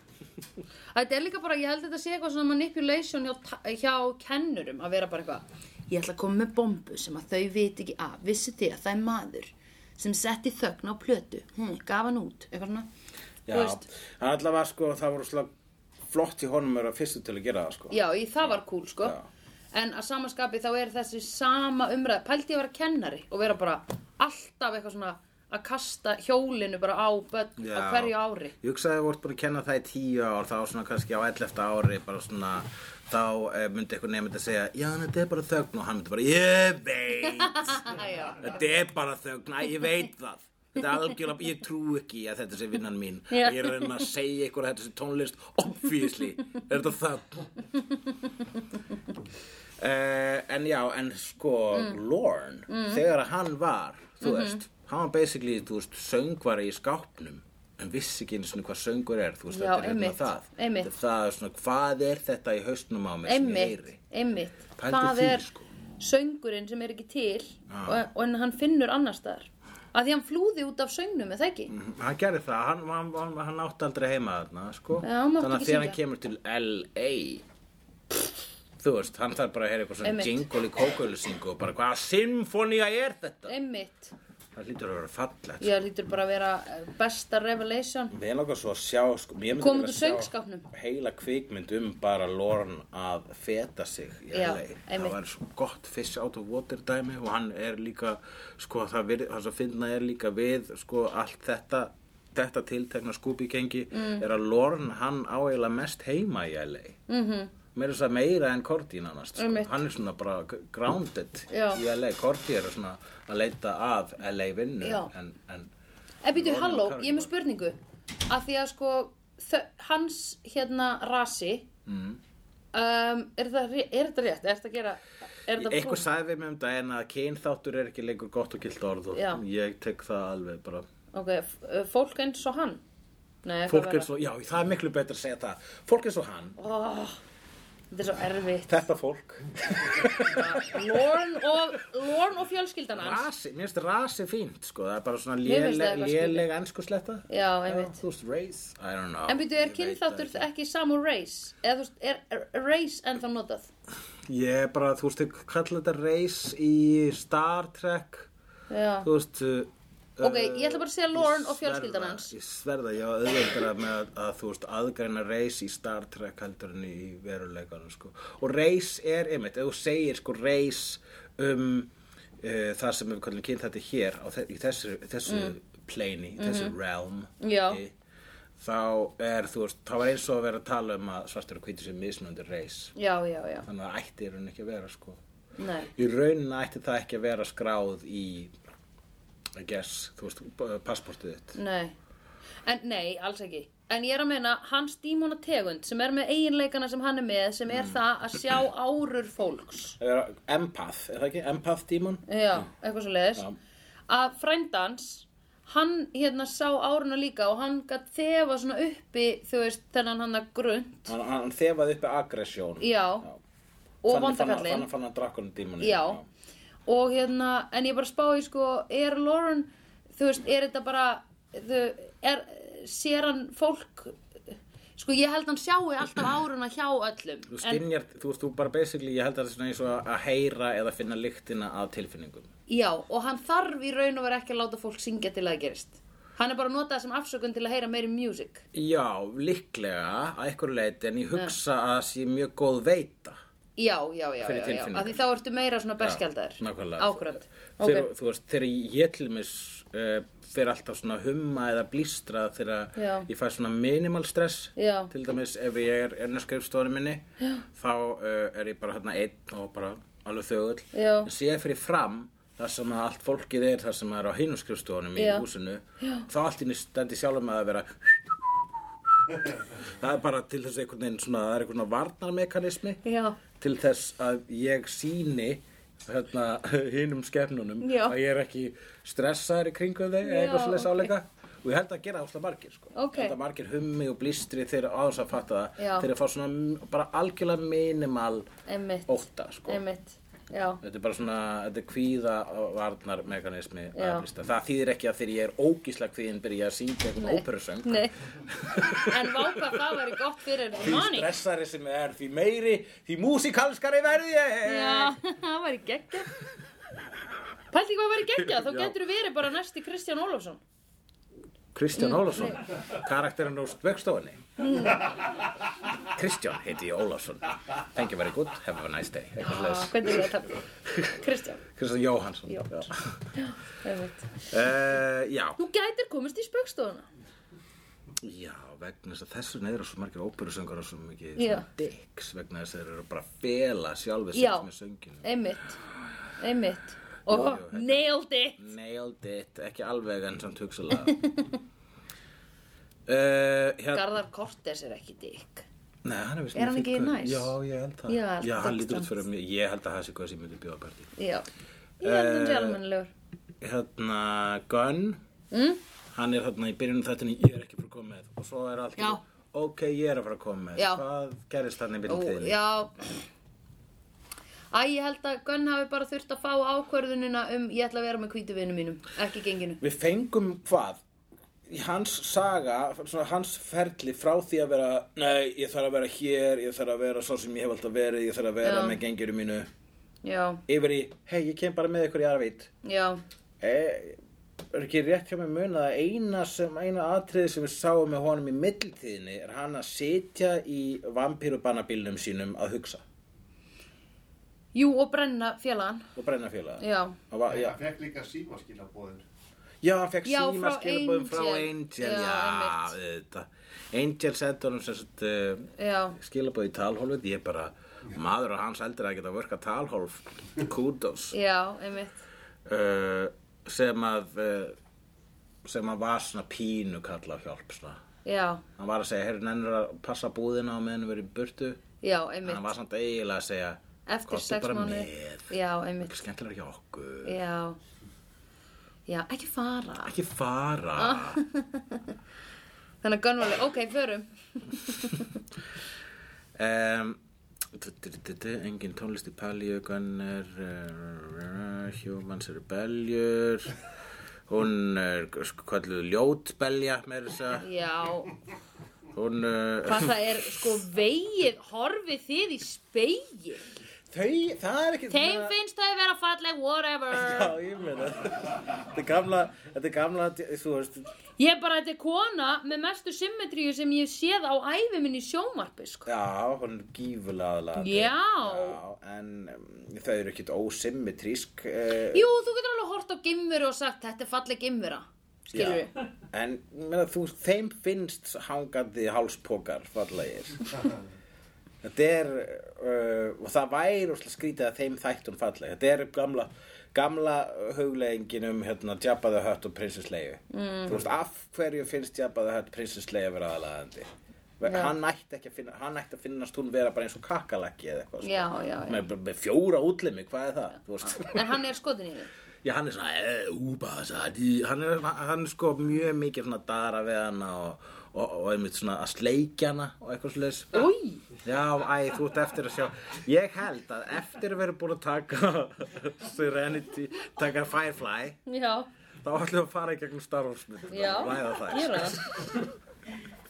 [SPEAKER 3] Þetta er líka bara, ég held þetta sé eitthvað svona manipulation hjá, ta- hjá kennurum að vera bara eitthvað Ég ætla að koma með bombu sem að þau viti ekki af Vissu því að það er maður sem setti þögn á plötu hm, Gaf hann út, eitthvað svona
[SPEAKER 1] Já,
[SPEAKER 3] Þú veist,
[SPEAKER 1] en allavega sko það voru slag flott í honum er að fyrstu til að gera það sko.
[SPEAKER 3] Já, í, það var cool, sko
[SPEAKER 1] Já.
[SPEAKER 3] En að samaskapi þá er þessi sama umræð Pældi ég að vera kennari og vera bara alltaf eitthvað svona að kasta hjólinu bara á börn á
[SPEAKER 1] Já.
[SPEAKER 3] hverju
[SPEAKER 1] [laughs]
[SPEAKER 3] ári
[SPEAKER 1] Ég hugsaði að þú vart búin að kenna það í tíu ár, þá svona kannski á 11. ári, bara svona, þá eh, myndi eitthvað nefndi að segja, já, en þetta er bara þögn og hann myndi bara, ég veit,
[SPEAKER 3] Já,
[SPEAKER 1] þetta er bara þögn, æ, ég veit það. Þetta er algjörlega, ég trú ekki að þetta sé vinnan mín.
[SPEAKER 3] Já.
[SPEAKER 1] Ég er að reyna að segja ykkur að þetta sé tónlist, obviously, er þetta þögn. Uh, en já, en sko,
[SPEAKER 3] Mm.
[SPEAKER 1] Lorne, þegar að hann var, þú
[SPEAKER 3] Mm-hmm.
[SPEAKER 1] veist, hann var basically, þú veist, söngvari í skápnum, en vissi ekki einu svona hvað söngur er, þú veist,
[SPEAKER 3] Já,
[SPEAKER 1] þetta er hérna
[SPEAKER 3] einmitt,
[SPEAKER 1] það.
[SPEAKER 3] einmitt.
[SPEAKER 1] Þetta er það, svona, hvað er þetta í haustnum á mig sem ég
[SPEAKER 3] einmitt,
[SPEAKER 1] heyri?
[SPEAKER 3] einmitt
[SPEAKER 1] Pældu
[SPEAKER 3] það
[SPEAKER 1] því,
[SPEAKER 3] er
[SPEAKER 1] sko.
[SPEAKER 3] söngurinn sem er ekki til og, og en hann finnur annars staðar að því hann flúði út af söngnum eða ekki
[SPEAKER 1] Hann gerði það, hann, hann, hann, hann átti aldrei heima þarna, sko.
[SPEAKER 3] Já, hann mátti
[SPEAKER 1] Þannig að
[SPEAKER 3] ekki
[SPEAKER 1] þegar hann
[SPEAKER 3] syngja.
[SPEAKER 1] kemur til LA, þú veist, hann þarf bara að heyra eitthvað svona
[SPEAKER 3] Einmitt.
[SPEAKER 1] jingle í kókaulisingu og bara hvaða symfónía er þetta?
[SPEAKER 3] einmitt,
[SPEAKER 1] Það hlýtur að vera fallegt.
[SPEAKER 3] ég lítur bara að vera eh, besta revelation
[SPEAKER 1] Mér langar svo að sjá, sko, mér myndi
[SPEAKER 3] Komum út
[SPEAKER 1] vilja
[SPEAKER 3] úr
[SPEAKER 1] sjá
[SPEAKER 3] söngskápnum.
[SPEAKER 1] heila kvikmynd um bara Lorne að feta sig í
[SPEAKER 3] Já,
[SPEAKER 1] LA.
[SPEAKER 3] einmitt.
[SPEAKER 1] Það var svo gott fish out of water dæmi og hann er líka, sko, það, vir, það svo finna er líka við, sko, allt þetta, þetta tiltekna skúpi gengi
[SPEAKER 3] Mm.
[SPEAKER 1] er að Lorne, hann á eiginlega mest heima í LA. Mm -hmm. Meira þess að meira en Korti nánast, sko.
[SPEAKER 3] Mhm. Einmitt.
[SPEAKER 1] Hann er svona bara g- grounded
[SPEAKER 3] Já.
[SPEAKER 1] í LA. Korti er svona að leita að LA vinnu
[SPEAKER 3] Já.
[SPEAKER 1] en... en
[SPEAKER 3] en býtu,
[SPEAKER 1] Ronan
[SPEAKER 3] Eh, halló,
[SPEAKER 1] Carrigan.
[SPEAKER 3] ég er með spurningu að því að sko þö- hans hérna rasi
[SPEAKER 1] Mm.
[SPEAKER 3] um, er, það, ré- er þetta rétt, er þetta að gera er þetta
[SPEAKER 1] Eitthvað sagði við mig um daginn að kynþáttur er ekki lengur gott og gilt orð og
[SPEAKER 3] Já.
[SPEAKER 1] ég tek það alveg bara.
[SPEAKER 3] ok, f- eh, fólk eins og hann Nei, eitthvað
[SPEAKER 1] Fólk
[SPEAKER 3] verra.
[SPEAKER 1] er svo, já það er miklu betra að segja það. Fólk er svo hann,
[SPEAKER 3] oh, þetta er svo erfitt
[SPEAKER 1] þetta fólk.
[SPEAKER 3] Lorne og, Lorne og fjölskyldan hans
[SPEAKER 1] Rasi, mér finnst rasi fínt sko, það er bara svona
[SPEAKER 3] Mér finnst það
[SPEAKER 1] léleg,
[SPEAKER 3] eitthvað
[SPEAKER 1] léleg ennskusletta.
[SPEAKER 3] Já, einmitt.
[SPEAKER 1] Þú veist, race, I don't know.
[SPEAKER 3] En byrju, er
[SPEAKER 1] Ég veit það
[SPEAKER 3] kynþáttur ekki saman race? Eða þú veist, er, er race ennþá notað?
[SPEAKER 1] Ég er bara, þú veist, ég kalla þetta race í Star Trek,
[SPEAKER 3] Já,
[SPEAKER 1] þú veist, uh,
[SPEAKER 3] Ok, ég ætla bara að segja Lauren og fjölskyldan
[SPEAKER 1] sverða-
[SPEAKER 3] hans.
[SPEAKER 1] Ég sverða, ég á auðvöldara með að, að þú veist aðgreina reis í Star Trek heldur en í veruleikanum sko. Og reis er, einmitt, ef þú segir sko reis um uh, það sem við kallum kynnt þetta hér á þe í þessu, þessu mm. plane, í þessu realm
[SPEAKER 3] Mhm. Já.
[SPEAKER 1] í, þá er þú veist, þá er eins og að vera að tala um að svartur og hvítur sem mismunandi reis.
[SPEAKER 3] já, já, já,
[SPEAKER 1] Þannig að það ætti í raun ekki að vera sko
[SPEAKER 3] nei
[SPEAKER 1] í raunin ætti það ekki að vera skráð í I guess, þú veist, passportið þitt
[SPEAKER 3] Nei, en nei, alls ekki En ég er að meina, hans dímona tegund sem er með eiginleikana sem hann er með sem
[SPEAKER 1] Mm.
[SPEAKER 3] er það að sjá árur fólks
[SPEAKER 1] Er- Empath, er það ekki? Empath dímon?
[SPEAKER 3] Já, eitthvað svo leiðis
[SPEAKER 1] Já.
[SPEAKER 3] að frændans hann hérna sá áruna líka og hann gætt þefa svona uppi þú veist, þennan hann að grund
[SPEAKER 1] Hann, hann þefaði uppi aggresjón
[SPEAKER 3] Já, og
[SPEAKER 1] Þannig
[SPEAKER 3] vandakallin
[SPEAKER 1] fann hann drakkunum dímoni
[SPEAKER 3] Já, og hérna en ég bara spá í sko, er Lauren þú veist, er þetta bara þú, er, sér hann fólk sko, ég held hann sjáu alltaf áruna hjá öllum
[SPEAKER 1] Þú
[SPEAKER 3] en,
[SPEAKER 1] stinjar, þú veist, þú bara basically, ég held að það er svona eins og að heyra eða finna lyktina af tilfinningum
[SPEAKER 3] já, og hann þarf í raun og vera ekki að láta fólk syngja til að það gerist hann er bara að nota það sem afsökun til að heyra meiri music
[SPEAKER 1] Já, líklega, að einhverju leiti, en ég hugsa að það sé mjög góð veita
[SPEAKER 3] Já, já, já, já,
[SPEAKER 1] Fyrir
[SPEAKER 3] já,
[SPEAKER 1] tilfinningar.
[SPEAKER 3] að því þá ertu meira svona berskjaldar
[SPEAKER 1] Já, nákvæmlega.
[SPEAKER 3] Ákvörðan
[SPEAKER 1] þegar,
[SPEAKER 3] Ok,
[SPEAKER 1] þú veist, þegar ég til mis uh, fyrir alltaf svona humma eða blístra þegar
[SPEAKER 3] Já.
[SPEAKER 1] ég fæ svona minimal stress
[SPEAKER 3] Já.
[SPEAKER 1] til dæmis ef ég er enn að skrifstofunni minni Já. þá uh, er ég bara hérna einn og bara alveg þögull
[SPEAKER 3] Já.
[SPEAKER 1] en sé ég fyrir fram þar sem að allt fólkið er þar sem er á hinu skrifstofunum í
[SPEAKER 3] Já.
[SPEAKER 1] húsinu Já. þá allt inni stendi sjálfum með að vera [laughs] það er bara til þess einhvern veginn svona, það er einhvern veginn varnarmekanismi
[SPEAKER 3] já,
[SPEAKER 1] til þess að ég síni hérna, [laughs] hinum skefnunum
[SPEAKER 3] Já.
[SPEAKER 1] að ég er ekki stressaður í kringum þeim eða
[SPEAKER 3] Já,
[SPEAKER 1] eitthvað svolítið
[SPEAKER 3] ok.
[SPEAKER 1] sáleika og ég held að gera alltaf margir sko.
[SPEAKER 3] Ok.
[SPEAKER 1] Ég held að margir hummi og blístri þegar á þess að fatta það
[SPEAKER 3] Já.
[SPEAKER 1] þegar að fá svona m- bara algjörlega minimal
[SPEAKER 3] einmitt
[SPEAKER 1] ótta sko.
[SPEAKER 3] Einmitt, já
[SPEAKER 1] þetta er bara svona, þetta er kvíða varnarmekanismi að
[SPEAKER 3] Já.
[SPEAKER 1] blístra. það þýðir ekki að þegar ég er ógísla kvíðin byrja að syngja eitthvað óperusöng
[SPEAKER 3] Nei, en váka það væri gott fyrir
[SPEAKER 1] því
[SPEAKER 3] manni
[SPEAKER 1] stressari sem ég er, því meiri því músikalskari verð ég
[SPEAKER 3] Já, [laughs] það væri geggja Pælti hvað væri geggja, þá
[SPEAKER 1] Já.
[SPEAKER 3] getur þú verið bara næsti Kristján Ólafsson
[SPEAKER 1] Kristján Ólafsson, karakterinn úr spöggstofunni. Kristján heiti ég Ólafsson. Thank you very good, have a nice day. Eitthvað
[SPEAKER 3] ah,
[SPEAKER 1] svoleiðis.
[SPEAKER 3] Hvernig er ég að tala? Kristján,
[SPEAKER 1] Kristján Jóhansson.
[SPEAKER 3] Jó. einmitt
[SPEAKER 1] Uh, já.
[SPEAKER 3] Þú gætir komist í spöggstofuna
[SPEAKER 1] já, vegna þess að þessu neyður svo margir óperusöngar og svo mikið
[SPEAKER 3] Já.
[SPEAKER 1] dicks vegna þess að þeir eru bara að fela sjálfi
[SPEAKER 3] Já.
[SPEAKER 1] sér með sönginu.
[SPEAKER 3] Einmitt, einmitt Og
[SPEAKER 1] Jú, jú, þetta-
[SPEAKER 3] nailed it
[SPEAKER 1] Nailed it, ekki alveg enn samt
[SPEAKER 3] [laughs]
[SPEAKER 1] hugsalega. Uh, hérna,
[SPEAKER 3] Garðar Kortes er ekki dykk
[SPEAKER 1] nei, hann er, víst
[SPEAKER 3] Er hann
[SPEAKER 1] mjög
[SPEAKER 3] ekki
[SPEAKER 1] fínn gaur.
[SPEAKER 3] næs?
[SPEAKER 1] Já, ég held það.
[SPEAKER 3] Já, allt
[SPEAKER 1] Já, hann
[SPEAKER 3] þetta
[SPEAKER 1] lítur út
[SPEAKER 3] stand.
[SPEAKER 1] fyrir mig. Ég held að það sé hvað sem ég myndi bjóða partí.
[SPEAKER 3] Já, ég er
[SPEAKER 1] Eh,
[SPEAKER 3] mjög almanlegur
[SPEAKER 1] hérna Gunn
[SPEAKER 3] Mm?
[SPEAKER 1] hann er hérna í byrjunum þættinni ég er ekki að fara að koma með og svo er allt
[SPEAKER 3] Já.
[SPEAKER 1] ok ég er að fara að koma með
[SPEAKER 3] Já.
[SPEAKER 1] hvað gerist hann í
[SPEAKER 3] Ó,
[SPEAKER 1] byrjunum þættinni
[SPEAKER 3] já Æ, ég held að Gunn hafi bara þurft að fá ákvörðunina um ég ætla að vera með hvítu vinum mínum, ekki genginu
[SPEAKER 1] við fengum hvað í hans saga svona, hans ferli frá því að vera nei ég þarf að vera hér ég þarf að vera svo sem ég hef alltaf verið ég þarf að vera
[SPEAKER 3] Já.
[SPEAKER 1] með gengjuru mínu
[SPEAKER 3] Já,
[SPEAKER 1] yfir í hei ég kem bara með ykkur í Arveit
[SPEAKER 3] já,
[SPEAKER 1] Eh, er ekki rétt hjá mér muna að eina, sem, eina atriði sem við sáum með honum í milltíðinni er hann að sitja í vampírubanabílnum sínum að hugsa
[SPEAKER 3] jú og brenna félagann
[SPEAKER 1] og brenna félaga
[SPEAKER 3] Já,
[SPEAKER 1] Hann var- Ah, Já,
[SPEAKER 4] Ég fekk líka símaskilabóðin.
[SPEAKER 1] já, hann fekk
[SPEAKER 3] Já,
[SPEAKER 1] síma
[SPEAKER 3] frá
[SPEAKER 1] skilabóðum frá
[SPEAKER 3] Angel.
[SPEAKER 1] Angel,
[SPEAKER 3] Já,
[SPEAKER 1] já,
[SPEAKER 3] einmitt.
[SPEAKER 1] þetta Angel sendur hann sem sagt uh,
[SPEAKER 3] já,
[SPEAKER 1] skilabóð í talhólfið, ég bara maður og hans heldur að geta að virka talhólf kudos
[SPEAKER 3] já, einmitt
[SPEAKER 1] uh, sem að uh, sem að var svona pínu kalla á hjálp svona
[SPEAKER 3] Já,
[SPEAKER 1] hann var að segja, heyrðu, nennur að passa búðina á meðan við erum í burtu
[SPEAKER 3] já,
[SPEAKER 1] en hann
[SPEAKER 3] einmitt
[SPEAKER 1] var samt eiginlega að segja
[SPEAKER 3] Eftir
[SPEAKER 1] "Komdu
[SPEAKER 3] sex
[SPEAKER 1] bara
[SPEAKER 3] mánu
[SPEAKER 1] með,
[SPEAKER 3] Já,
[SPEAKER 1] ekki
[SPEAKER 3] einmitt,
[SPEAKER 1] skemmtilega hjá okkur
[SPEAKER 3] já Já, ekki fara
[SPEAKER 1] ekki fara
[SPEAKER 3] Ah. Þannig að Gunn var alveg, ok, förum
[SPEAKER 1] um, du- du- du- du- du, engin tónlist í palju Gunnar uh, Humans eru beljur hún er kalluð ljótbelja meira þess að
[SPEAKER 3] Já,
[SPEAKER 1] segja. hún uh,
[SPEAKER 3] hvað það er sko vegið, horfið þið í speil
[SPEAKER 1] Þau, það er ekki...
[SPEAKER 2] Þeim finnst þau vera falleg, whatever.
[SPEAKER 1] Já, ég meina. Þetta er gamla, þetta er gamla, þú veist,
[SPEAKER 2] Ég bara, þetta er kona með mestu symmetríu sem ég hef séð á ævi minni í sjónvarpi, sko.
[SPEAKER 1] já, hún er gífulega aðlaðandi.
[SPEAKER 2] Já.
[SPEAKER 1] Já, en um, þau eru ekkit ósymmetrísk. Uh,
[SPEAKER 2] Jú, þú getur alveg hort á gimveru og sagt, þetta er falleg gimvera. Skilur við?
[SPEAKER 1] En, ég meina, þú, þeim finnst hangandi hálspokar fallegir. Þetta er, uh, og það væri úrslega skrítið að þeim þættum falleg. Þetta er gamla, gamla hugleggingin um hérna, Jabba the Hutt og prinsesslegu. Mm. Þú veist, af hverju finnst Jabba the Hutt prinsesslegu vera aðlaðandi? Hann ætti, ekki að finna, hann ætti að finnast hún vera bara eins og kakalakki eða eitthvað. sko.
[SPEAKER 3] Já, já, já.
[SPEAKER 1] Með, með fjóra útlimi, hvað er það? Þú veist,
[SPEAKER 3] En hann er skotin í því.
[SPEAKER 1] já, [laughs] hann er svona, eh, úpa, sadi. Hann er, hann er sko mjög mikið svona að dara við hana og, og, og einmitt svona að sleikja hana og eitthvað slags.
[SPEAKER 3] Új,
[SPEAKER 1] Já, æ, þú ert eftir að sjá Ég held að eftir að vera búin að taka [laughs] Serenity taka Firefly
[SPEAKER 2] Já,
[SPEAKER 1] þá ætlum við að fara í gegnum Star Wars mynd
[SPEAKER 2] já.
[SPEAKER 1] ræða það
[SPEAKER 2] Gera það.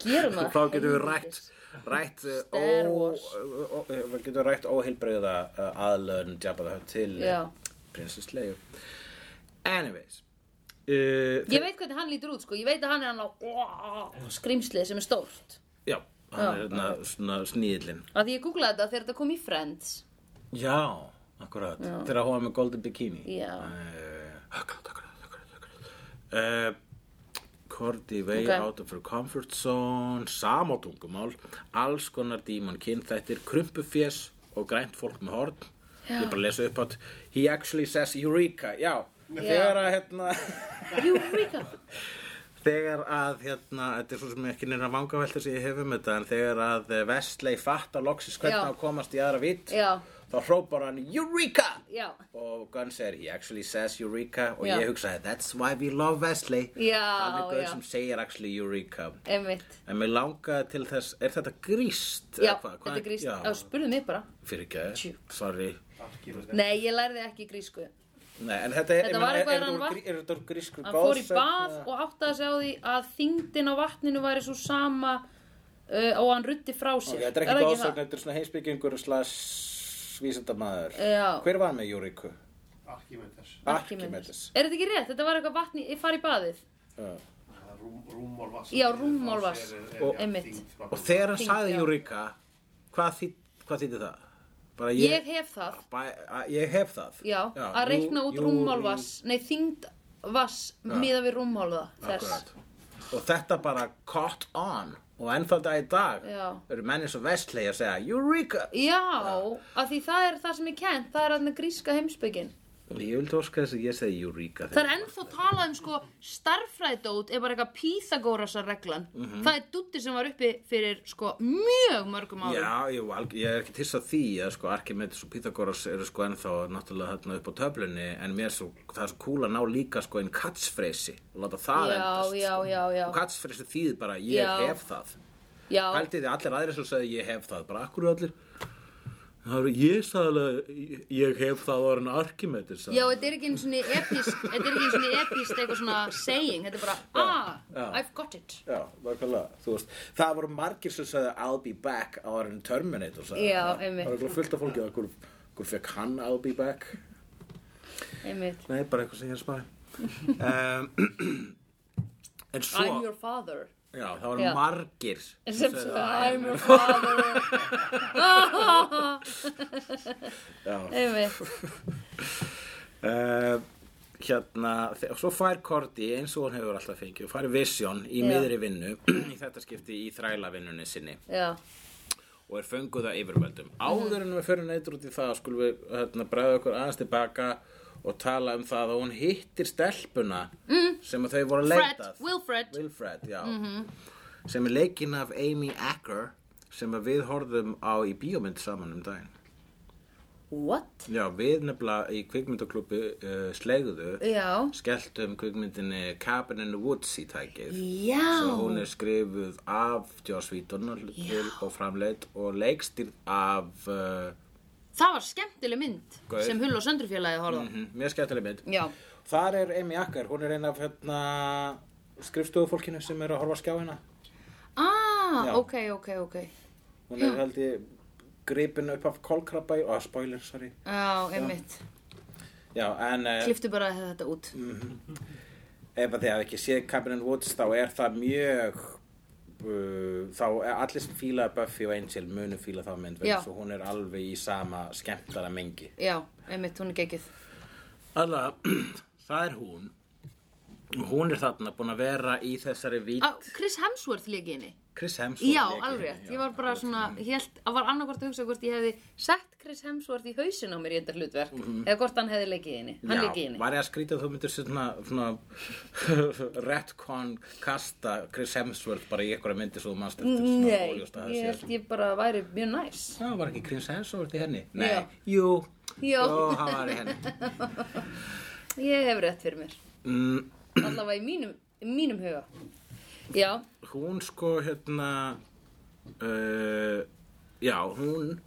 [SPEAKER 2] Gerum það.
[SPEAKER 1] þá getum við rætt rætt uh, ó,
[SPEAKER 3] Star Wars.
[SPEAKER 1] ó, ó, við getum rætt óheilbreyða uh, aðlöðun Jabba the Hutt til
[SPEAKER 3] Já.
[SPEAKER 1] prinsess Leia anyways uh,
[SPEAKER 2] Ég veit hvernig hann lítur út, sko. Ég veit að hann er hann á skrýmslið sem er stórt.
[SPEAKER 1] já, hann er hérna svona sníðlinn
[SPEAKER 3] Af því ég googlaði þetta þegar þetta kom í Friends.
[SPEAKER 1] Já, akkurat Þegar hún var með Golden Bikini
[SPEAKER 3] Já.
[SPEAKER 1] Eh, Akkurat, akkurat, akkurat, akkurat. Uh, Cordy Way
[SPEAKER 3] Ok.
[SPEAKER 1] Out of Her Comfort Zone Samátungumál Alls konar dímon kynþættir Krumpufjes og grænt fólk með horn Ég bara lesa upp átt He actually says Eureka Já, þegar að hérna
[SPEAKER 3] [laughs]
[SPEAKER 2] Jú, Ríka.
[SPEAKER 1] Þegar að, hérna, þetta er svo sem ekki neina vangavelta sem ég hef um þetta, en þegar að Vestley fattar loksis hvernig
[SPEAKER 3] Já.
[SPEAKER 1] á að komast í aðra vitt,
[SPEAKER 3] Já.
[SPEAKER 1] þá hrópar hann Eureka!
[SPEAKER 3] Já.
[SPEAKER 1] Og Gunn segir, he actually says Eureka, og
[SPEAKER 3] Já.
[SPEAKER 1] ég hugsaði, that's why we love Vestley.
[SPEAKER 3] Já,
[SPEAKER 1] Hann er
[SPEAKER 3] já.
[SPEAKER 1] gauð sem segir actually Eureka.
[SPEAKER 3] Einmitt.
[SPEAKER 1] En mér langaði til þess, er þetta gríst?
[SPEAKER 3] Já,
[SPEAKER 1] eða hvað? Hvað
[SPEAKER 3] þetta er grísk. Já,
[SPEAKER 1] Já,
[SPEAKER 3] spurðu mig bara.
[SPEAKER 1] fyrir ekki,
[SPEAKER 3] Tjú.
[SPEAKER 1] sorry.
[SPEAKER 3] Nei, ég lærði ekki grísku.
[SPEAKER 1] Nei, en þetta er,
[SPEAKER 3] Þetta
[SPEAKER 1] ég meina,
[SPEAKER 3] var
[SPEAKER 1] er-
[SPEAKER 3] eitthvað
[SPEAKER 1] er
[SPEAKER 3] hann
[SPEAKER 1] þetta úr
[SPEAKER 3] var-
[SPEAKER 1] grí- er þetta úr grísku
[SPEAKER 3] Hann fór í
[SPEAKER 1] goðsögn
[SPEAKER 3] bað
[SPEAKER 1] eða-
[SPEAKER 3] og áttaði sig á því að þyngdin á vatninu væri svo sama uh, og hann rutti frá sér.
[SPEAKER 1] Ok, þetta er ekki
[SPEAKER 3] það?
[SPEAKER 1] góðsögn, þetta er svona heimsbyggingur slags vísindamaður.
[SPEAKER 3] Já.
[SPEAKER 1] Hver var með Júriku?
[SPEAKER 4] Archimedes.
[SPEAKER 1] Archimedes.
[SPEAKER 3] Er þetta ekki rétt? Þetta var eitthvað vatni, ég fari í baðið.
[SPEAKER 1] Já.
[SPEAKER 4] Það er Rúm, rúmmál vass.
[SPEAKER 3] Já, rúmmál vatns.
[SPEAKER 1] Og-
[SPEAKER 3] Einmitt.
[SPEAKER 1] Og þegar hann
[SPEAKER 3] Þyngd,
[SPEAKER 1] sagði
[SPEAKER 3] já.
[SPEAKER 1] Júrika, hvað, þýd, hvað þýtti það? Bara
[SPEAKER 3] Ég,
[SPEAKER 1] ég,
[SPEAKER 3] hef það,
[SPEAKER 1] bæ, að, ég hef það.
[SPEAKER 3] já, að
[SPEAKER 1] jú-
[SPEAKER 3] reikna út
[SPEAKER 1] jú-
[SPEAKER 3] rúmmál vass, nei þyngd vass miða við rúmmál það þess.
[SPEAKER 1] Akkurat. Og þetta bara caught on. Og ennþá dag í dag
[SPEAKER 3] Já.
[SPEAKER 1] eru menn eins og vestlegi að segja Júrika.
[SPEAKER 3] Já, af því það er það sem ég kent, það er hann gríska heimsbyggin.
[SPEAKER 1] Og ég vildi óska þess að ég segi Júrika.
[SPEAKER 2] Það er ennþá talað um sko starffræðdót er bara eitthvað Pythagorasa reglan. Það er dutti sem var uppi fyrir sko mjög mörgum árum.
[SPEAKER 1] Já, ég, alg- ég er ekki til að því að sko, Archimedes og Pythagoras eru sko ennþá náttúrulega þarna upp á töflunni en mér er svo, það er svo cool að ná líka sko einn katsfreysi og láta það
[SPEAKER 3] Já,
[SPEAKER 1] endast
[SPEAKER 3] já,
[SPEAKER 1] sko.
[SPEAKER 3] já, já.
[SPEAKER 1] og katsfreysi þýð bara ég
[SPEAKER 3] Já.
[SPEAKER 1] hef það
[SPEAKER 3] Já,
[SPEAKER 1] haldið þið allir aðrir sem sagði ég hef það bara akkur allir það eru ég sagði alveg "Ég- ég hef það var en Archimedes sagði.
[SPEAKER 2] Já, þetta er ekki einu svona epist, þetta er ekki einu svona epist eitthvað svona saying, þetta er bara, ah,
[SPEAKER 1] já.
[SPEAKER 2] I've got it.
[SPEAKER 1] Já, nákvæmlega, þú veist, það voru margir sem sagði I'll be back á orðinu Terminator sagði
[SPEAKER 3] Já,
[SPEAKER 1] það.
[SPEAKER 3] einmitt.
[SPEAKER 1] Það var eitthvað fullt af fólki, okkur, okkur fekk hann I'll be back
[SPEAKER 3] einmitt.
[SPEAKER 1] Nei, bara eitthvað sem ég er að
[SPEAKER 3] [laughs]
[SPEAKER 1] spara um, [clears throat] En svo
[SPEAKER 3] I'm your father.
[SPEAKER 1] Já, það voru
[SPEAKER 3] Já.
[SPEAKER 1] margir
[SPEAKER 3] Sem
[SPEAKER 1] sögðu
[SPEAKER 3] svo,
[SPEAKER 1] það.
[SPEAKER 3] I'm
[SPEAKER 1] [laughs]
[SPEAKER 2] [laughs]
[SPEAKER 3] your father.
[SPEAKER 1] Já
[SPEAKER 3] einmitt.
[SPEAKER 1] uh, Hérna, þe- og svo fær Korti eins og hún hefur alltaf fengið og fær Vision í
[SPEAKER 3] Já.
[SPEAKER 1] miðri vinnu [clears throat] í þetta skipti í þrælavinnunni sinni
[SPEAKER 3] Já,
[SPEAKER 1] og er fenguð að yfirvöldum áður en við förum neitt út í það skulum við hérna, bregða okkur aðeins tilbaka og tala um það að hún hittir stelpuna mm. sem að þau voru að
[SPEAKER 2] Fred,
[SPEAKER 1] leitað
[SPEAKER 2] Wilfred.
[SPEAKER 1] Wilfred, já sem er leikinn af Amy Acker sem að við horfðum á í bíómynd saman um daginn
[SPEAKER 3] what?
[SPEAKER 1] já, við nefnilega í kvikmyndaklubbi uh, slegðu
[SPEAKER 3] Já,
[SPEAKER 1] skelltum kvikmyndinni Cabin in the Woods í tækið
[SPEAKER 3] já,
[SPEAKER 1] sem hún er skrifuð af Joss Whedon og- og framleitt og leikstýrð af uh,
[SPEAKER 2] Það var skemmtileg mynd
[SPEAKER 1] Gaur.
[SPEAKER 2] sem Hull og Söndrufélagi horfða.
[SPEAKER 1] mhm, mjög skemmtileg mynd
[SPEAKER 2] Já,
[SPEAKER 1] þar er Amy Acker, hún er ein af hérna, skrifstofufólkinu sem hérna. er að horfa á skjáina
[SPEAKER 2] ah,
[SPEAKER 1] Já.
[SPEAKER 2] ok, ok, ok.
[SPEAKER 1] hún er held ég gripinu upp af kolkrabba og spoiler, sorry
[SPEAKER 2] Já, einmitt.
[SPEAKER 1] já, Mm. en eh,
[SPEAKER 2] Kliftu bara þetta út.
[SPEAKER 1] ef að þið hafi ekki séð Cabin in the Woods þá er það mjög uh, þá er allir sem fíla Buffy og Angel munu fíla þá
[SPEAKER 2] Já.
[SPEAKER 1] mynd vegna þess að hún er alveg í sama skemmtara mengi
[SPEAKER 2] Já, einmitt, hún er geggið.
[SPEAKER 1] Alla, [clears throat] það er hún hún er þarna búin að vera í þessari vít
[SPEAKER 2] Á, Chris Hemsworth líka henni.
[SPEAKER 1] Chris Hemsworth
[SPEAKER 2] Ah,
[SPEAKER 1] hérna.
[SPEAKER 2] Já,
[SPEAKER 1] lék í
[SPEAKER 2] alveg
[SPEAKER 1] henni,
[SPEAKER 2] rétt.
[SPEAKER 1] já.
[SPEAKER 2] Ég var bara svona, hélt, að var annarkvort að hugsa hvort ég hefði
[SPEAKER 3] Sett Chris Hemsworth í hausin á mér í þetta hlutverk
[SPEAKER 1] Mhm.
[SPEAKER 3] eða hvort hann hefði leikið í henni hann leikið í henni
[SPEAKER 1] var ég að skrýta að þú myndir svona, svona [laughs] retcon kasta Chris Hemsworth bara í einhverja myndi svo þú manst eftir svona
[SPEAKER 3] Nei,
[SPEAKER 1] óljóst að
[SPEAKER 3] ég
[SPEAKER 1] það
[SPEAKER 3] held ég bara væri mjög næs
[SPEAKER 1] sé það var ekki Chris Hemsworth í henni nei,
[SPEAKER 3] Já.
[SPEAKER 1] jú,
[SPEAKER 3] Já.
[SPEAKER 1] jú, hann var í henni
[SPEAKER 3] Ég hef rétt fyrir mér
[SPEAKER 1] mm,
[SPEAKER 3] allavega í mínum, í mínum huga Já,
[SPEAKER 1] hún sko hérna uh, já, hún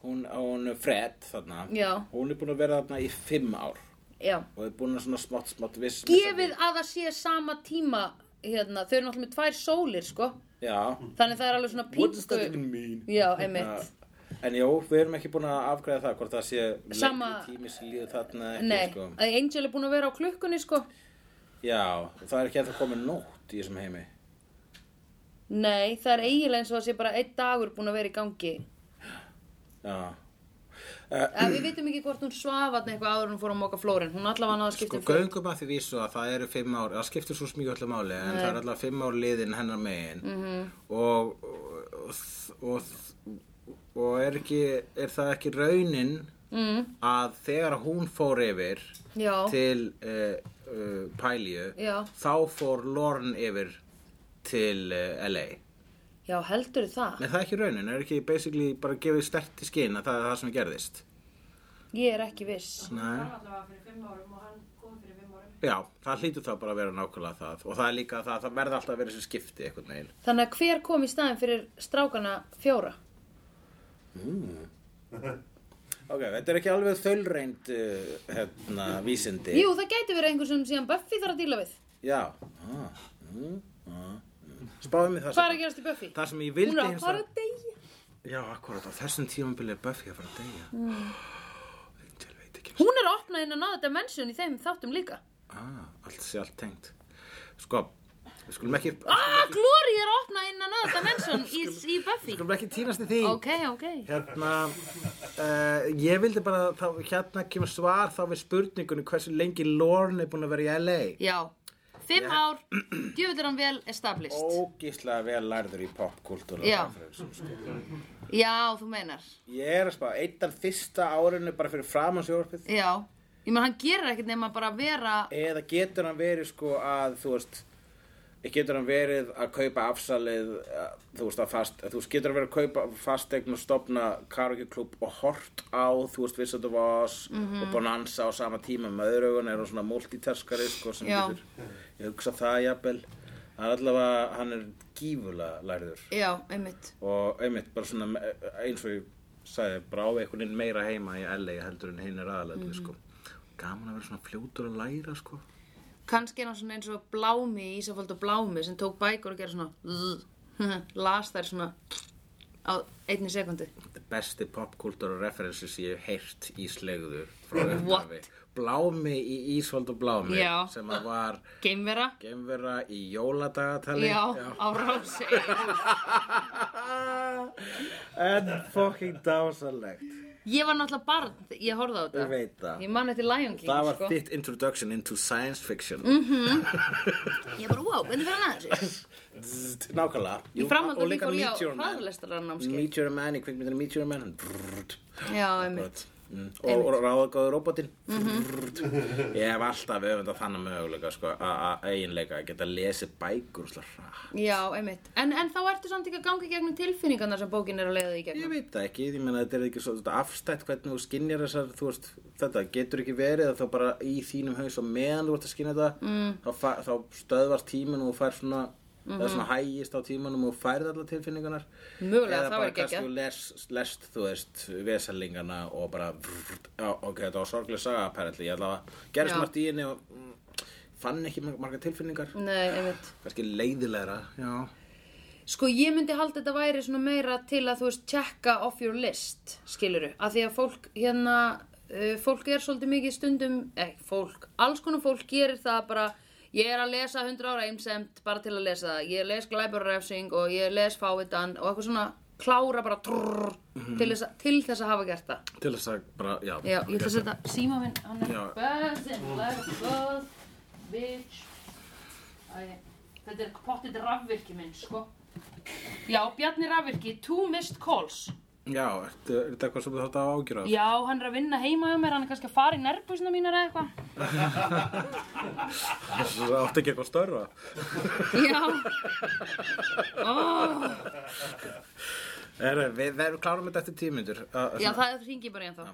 [SPEAKER 1] hún, hún Fred þarna
[SPEAKER 3] Já.
[SPEAKER 1] hún er búin að vera þarna í fimm ár
[SPEAKER 3] já
[SPEAKER 1] og er búin að svona smátt, smátt viss
[SPEAKER 3] Gefið að það sé sama tíma hérna, þau eru náttúrulega með tvær sólir sko
[SPEAKER 1] já,
[SPEAKER 3] þannig það er alveg svona
[SPEAKER 1] what does that
[SPEAKER 3] píngu
[SPEAKER 1] even mean
[SPEAKER 3] Já, einmitt
[SPEAKER 1] En jú, við erum ekki búin að afgræða það hvort það sé
[SPEAKER 3] Sama-
[SPEAKER 1] lengri tími sem líður þarna eða ekki,
[SPEAKER 3] Nei,
[SPEAKER 1] sko.
[SPEAKER 3] að Angel er búin að vera á klukkunni sko
[SPEAKER 1] Já, það er ekki að það komið nótt í þessum heimi.
[SPEAKER 3] Nei, það er eiginlega eins og það sé bara einn dagur búin að vera í gangi
[SPEAKER 1] Já, Uh,
[SPEAKER 3] að Við vitum ekki hvort hún svafatn eitthvað áður en hún fór að móka flórin Hún allavega náða að
[SPEAKER 1] sko
[SPEAKER 3] skipta um föt.
[SPEAKER 1] göngum að því vísu að það eru fimm ár, það skiptir svo smík öllu máli, en það er alltaf fimm ár liðin hennar megin -hmm.
[SPEAKER 3] Mhm.
[SPEAKER 1] og, og, og, og, og er, ekki, er það ekki raunin mm. að þegar hún fór yfir
[SPEAKER 3] Já.
[SPEAKER 1] til uh, uh, Pælíu,
[SPEAKER 3] Já.
[SPEAKER 1] þá fór Lorne yfir til uh, LA.
[SPEAKER 3] Já, heldur það?
[SPEAKER 1] Nei, það er ekki raunin, er ekki basically bara gefið stert í skinn að það er það sem gerðist?
[SPEAKER 3] Ég er ekki viss
[SPEAKER 1] Nei.
[SPEAKER 5] allavega fyrir fimm árum og hann kom fyrir fimm árum.
[SPEAKER 1] Já, það hlýtur þá bara að vera nákvæmlega það og það er líka það, það verði alltaf að vera þessi skipti einhvern veginn.
[SPEAKER 3] Þannig að hver kom í staðin fyrir strákana fjóra?
[SPEAKER 1] Ok, þetta er ekki alveg þölreind uh, hérna, vísindi.
[SPEAKER 3] Jú, það gæti verið einhver sem síðan Buffy þarf að díla við.
[SPEAKER 1] Já. Ah, mm, ah, mm. Spáðum við það
[SPEAKER 3] Hvað er að gerast í Buffy?
[SPEAKER 1] Það sem
[SPEAKER 3] Hún
[SPEAKER 1] ég vildi
[SPEAKER 3] er að fara að deyja.
[SPEAKER 1] Já, akkurat, á þessum tímambili er Buffy að fara að deyja. Mm. Til veit ekki.
[SPEAKER 3] Hún er að opna inn að náða dimension í þeim þáttum líka.
[SPEAKER 1] Ah, allt sé allt tengt. Sko, við skulum ekki,
[SPEAKER 3] Ah, Glory er að opna inn að náða dimension í, í Buffy.
[SPEAKER 1] skulum ekki týnast í því.
[SPEAKER 3] Ok, ok.
[SPEAKER 1] Hérna, uh, ég vildi bara, þá, hérna kemur svar þá við spurningunni hversu lengi Lorne er búin að vera í LA.
[SPEAKER 2] Já, fimm ár, djöfull er hann vel established.
[SPEAKER 1] Ógíslega vel lærður í popkultúra.
[SPEAKER 2] Já.
[SPEAKER 1] Sko.
[SPEAKER 2] Já, þú meinar.
[SPEAKER 1] Ég er að spá, eitt af fyrsta árinu bara fyrir fram á sjórfið.
[SPEAKER 2] Já, ég menn hann gerir ekkert nema bara vera,
[SPEAKER 1] Eða getur hann verið sko að, þú veist, getur hann verið að kaupa afsalið, eh, þú veist, að fast, þú veist, getur hann verið að kaupa fastegn og stopna karaokeklub og hort á, þú veist, Wizard of Oz og Bonanza á sama tíma með öðrugun, er hann svona multitaskari, sko, sem
[SPEAKER 2] Já.
[SPEAKER 1] getur, ég hugsa það jafnvel, hann er allavega, hann er gífulega lærður
[SPEAKER 2] já, einmitt.
[SPEAKER 1] og einmitt bara svona eh, eins og ég sagði bara á einhvern veginn meira heima í LA heldur en hinn er aðalega sko. gaman að vera svona fljótur að læra sko.
[SPEAKER 2] Kannski er hann svona eins og blámi, Ísafald og blámi sem tók bækur og gera svona, zzz, las þær svona [laughs] á einni sekundu.
[SPEAKER 1] The besti popkultúra referensi sem ég hef heyrt í slegðu frá
[SPEAKER 2] What?
[SPEAKER 1] upphafi. Blámi í Ísvald og Blámi
[SPEAKER 2] Já.
[SPEAKER 1] sem að var
[SPEAKER 2] Geimvera,
[SPEAKER 1] geimvera í jóladagatali
[SPEAKER 2] já, á rási.
[SPEAKER 1] [laughs] en fucking dásalegt
[SPEAKER 2] Ég var náttúrulega barn, þegar ég horfði á þetta.
[SPEAKER 1] Ég veit það.
[SPEAKER 2] Ég man eftir Lion King,
[SPEAKER 1] það var
[SPEAKER 2] sko. Mhm.
[SPEAKER 1] þitt introduction into science fiction
[SPEAKER 2] Ég bara, wow, hvernig fyrir hann að þessu?
[SPEAKER 1] Zzzt, [laughs] nákvæmlega
[SPEAKER 2] Í
[SPEAKER 1] Jú,
[SPEAKER 2] framhaldi
[SPEAKER 1] og
[SPEAKER 2] af því
[SPEAKER 1] líka
[SPEAKER 2] fór ég á
[SPEAKER 1] Meteor Man.
[SPEAKER 2] hraðalestararnámskeið.
[SPEAKER 1] Meteor Man í kvikmyndinu Meteor Man hann brrrt,
[SPEAKER 2] Já, einmitt.
[SPEAKER 1] brrrt, mm, og, og ráðagáði robotinn brrrt. ég hef alltaf öfund að þannig möguleika sko, að- að eiginleika að geta lesið bækur slá Ah, hratt
[SPEAKER 2] Já, einmitt. En, en þá ertu samt ekki að ganga í gegnum tilfinningarna sem bókin er að leiða þig í gegnum.
[SPEAKER 1] Ég veit það ekki, ég meina þetta er ekki svo þetta afstætt hvernig þú skinjar þessar, þú veist, þetta getur ekki verið að þá bara í þínum haus og meðan þú ert að skinja þetta, mm. þá, fa- þá stöðvar tíminn og þú fær svona, það er svona hægist á tímanum og þú færð allar tilfinningarnar.
[SPEAKER 2] Mögulega,
[SPEAKER 1] Eða
[SPEAKER 2] það
[SPEAKER 1] bara
[SPEAKER 2] væri geggjað.
[SPEAKER 1] kannski þú lest, lest, þú veist, vesalingana og bara, vrrt, já, ok, þetta var sorglega saga, apparently, ég ætla að
[SPEAKER 2] Já.
[SPEAKER 1] gerist margt í henni og mm, fann ekki mar- margar tilfinningar,
[SPEAKER 3] Nei, einmitt.
[SPEAKER 1] kannski leiðilegra, já.
[SPEAKER 3] Sko ég myndi halda þetta væri svona meira til að þú veist checka off your list skiluru, að því að fólk hérna uh, fólk er svolítið mikið stundum eh, fólk, alls konar fólk gerir það bara, ég er að lesa 100 ára einsemt bara til að lesa það, ég les glæburrefsing og ég les fávitan og eitthvað svona klára bara trrr,
[SPEAKER 1] Mhm.
[SPEAKER 3] til, þess að, til þess að hafa gert það
[SPEAKER 1] Til þess að bara, já.
[SPEAKER 3] Já, ég ætla að setja síma minn, hann er
[SPEAKER 1] Já.
[SPEAKER 3] bæðin, læra góð bitch
[SPEAKER 5] Æ, Þetta er pottit rafvirki minn, sko.
[SPEAKER 3] Já, Bjarni Rafvirki, two missed calls
[SPEAKER 1] Já, ertu- er þetta eitthvað sem þú þátt að ágjöra?
[SPEAKER 3] Já, hann er að vinna heima hjá mér, hann er kannski að fara í nærbúsina mínar eða eitthvað.
[SPEAKER 1] Það átti ekki eitthvað störfa.
[SPEAKER 3] Já. [laughs] Oh.
[SPEAKER 1] Er, við verðum klárum þetta eftir Uh, tímyndur.
[SPEAKER 3] Já, það ringi bara í hann þá.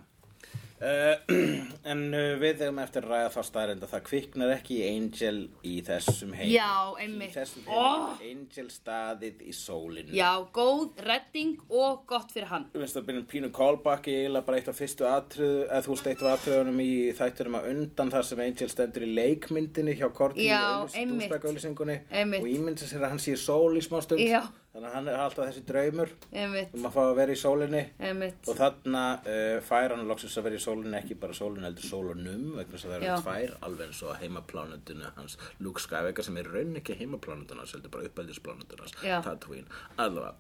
[SPEAKER 1] Uh, [clears throat] en uh, við eigum eftir að ræða þá staðrind að það kviknar ekki í Angel í þessum heim.
[SPEAKER 3] Já,
[SPEAKER 1] Í
[SPEAKER 3] einmitt.
[SPEAKER 1] þessum heim.
[SPEAKER 3] Oh.
[SPEAKER 1] Angel staðið í sólinu.
[SPEAKER 3] Já, góð redding og gott fyrir hann.
[SPEAKER 1] Þú veist að byrjum pínu callback í eiginlega bara eitt af fyrstu atriðu, eða þú veist eitt af atriðunum í þættunum að undan þar sem Angel stendur í leikmyndinni hjá Korti
[SPEAKER 3] Já, einmitt.
[SPEAKER 1] dúsbækauðlýsingunni
[SPEAKER 3] Einmitt.
[SPEAKER 1] og ímynda sér að hann sé í sól í smá stund
[SPEAKER 3] Já.
[SPEAKER 1] þannig að hann er alltaf þessi draumur
[SPEAKER 3] Einmitt,
[SPEAKER 1] um að fá að vera í sólinni
[SPEAKER 3] einmitt.
[SPEAKER 1] og þarna uh, fær hann loksins að vera í sólinni ekki bara sólinni heldur sólunum vegna þess að
[SPEAKER 3] Já.
[SPEAKER 1] það eru tvær alveg eins og heimaplánundinu hans Luke Skywalker sem er í rauninni ekki heimaplánundinu hans heldur bara uppeldisplánundinu hans
[SPEAKER 3] Já.
[SPEAKER 1] Tatooine allavega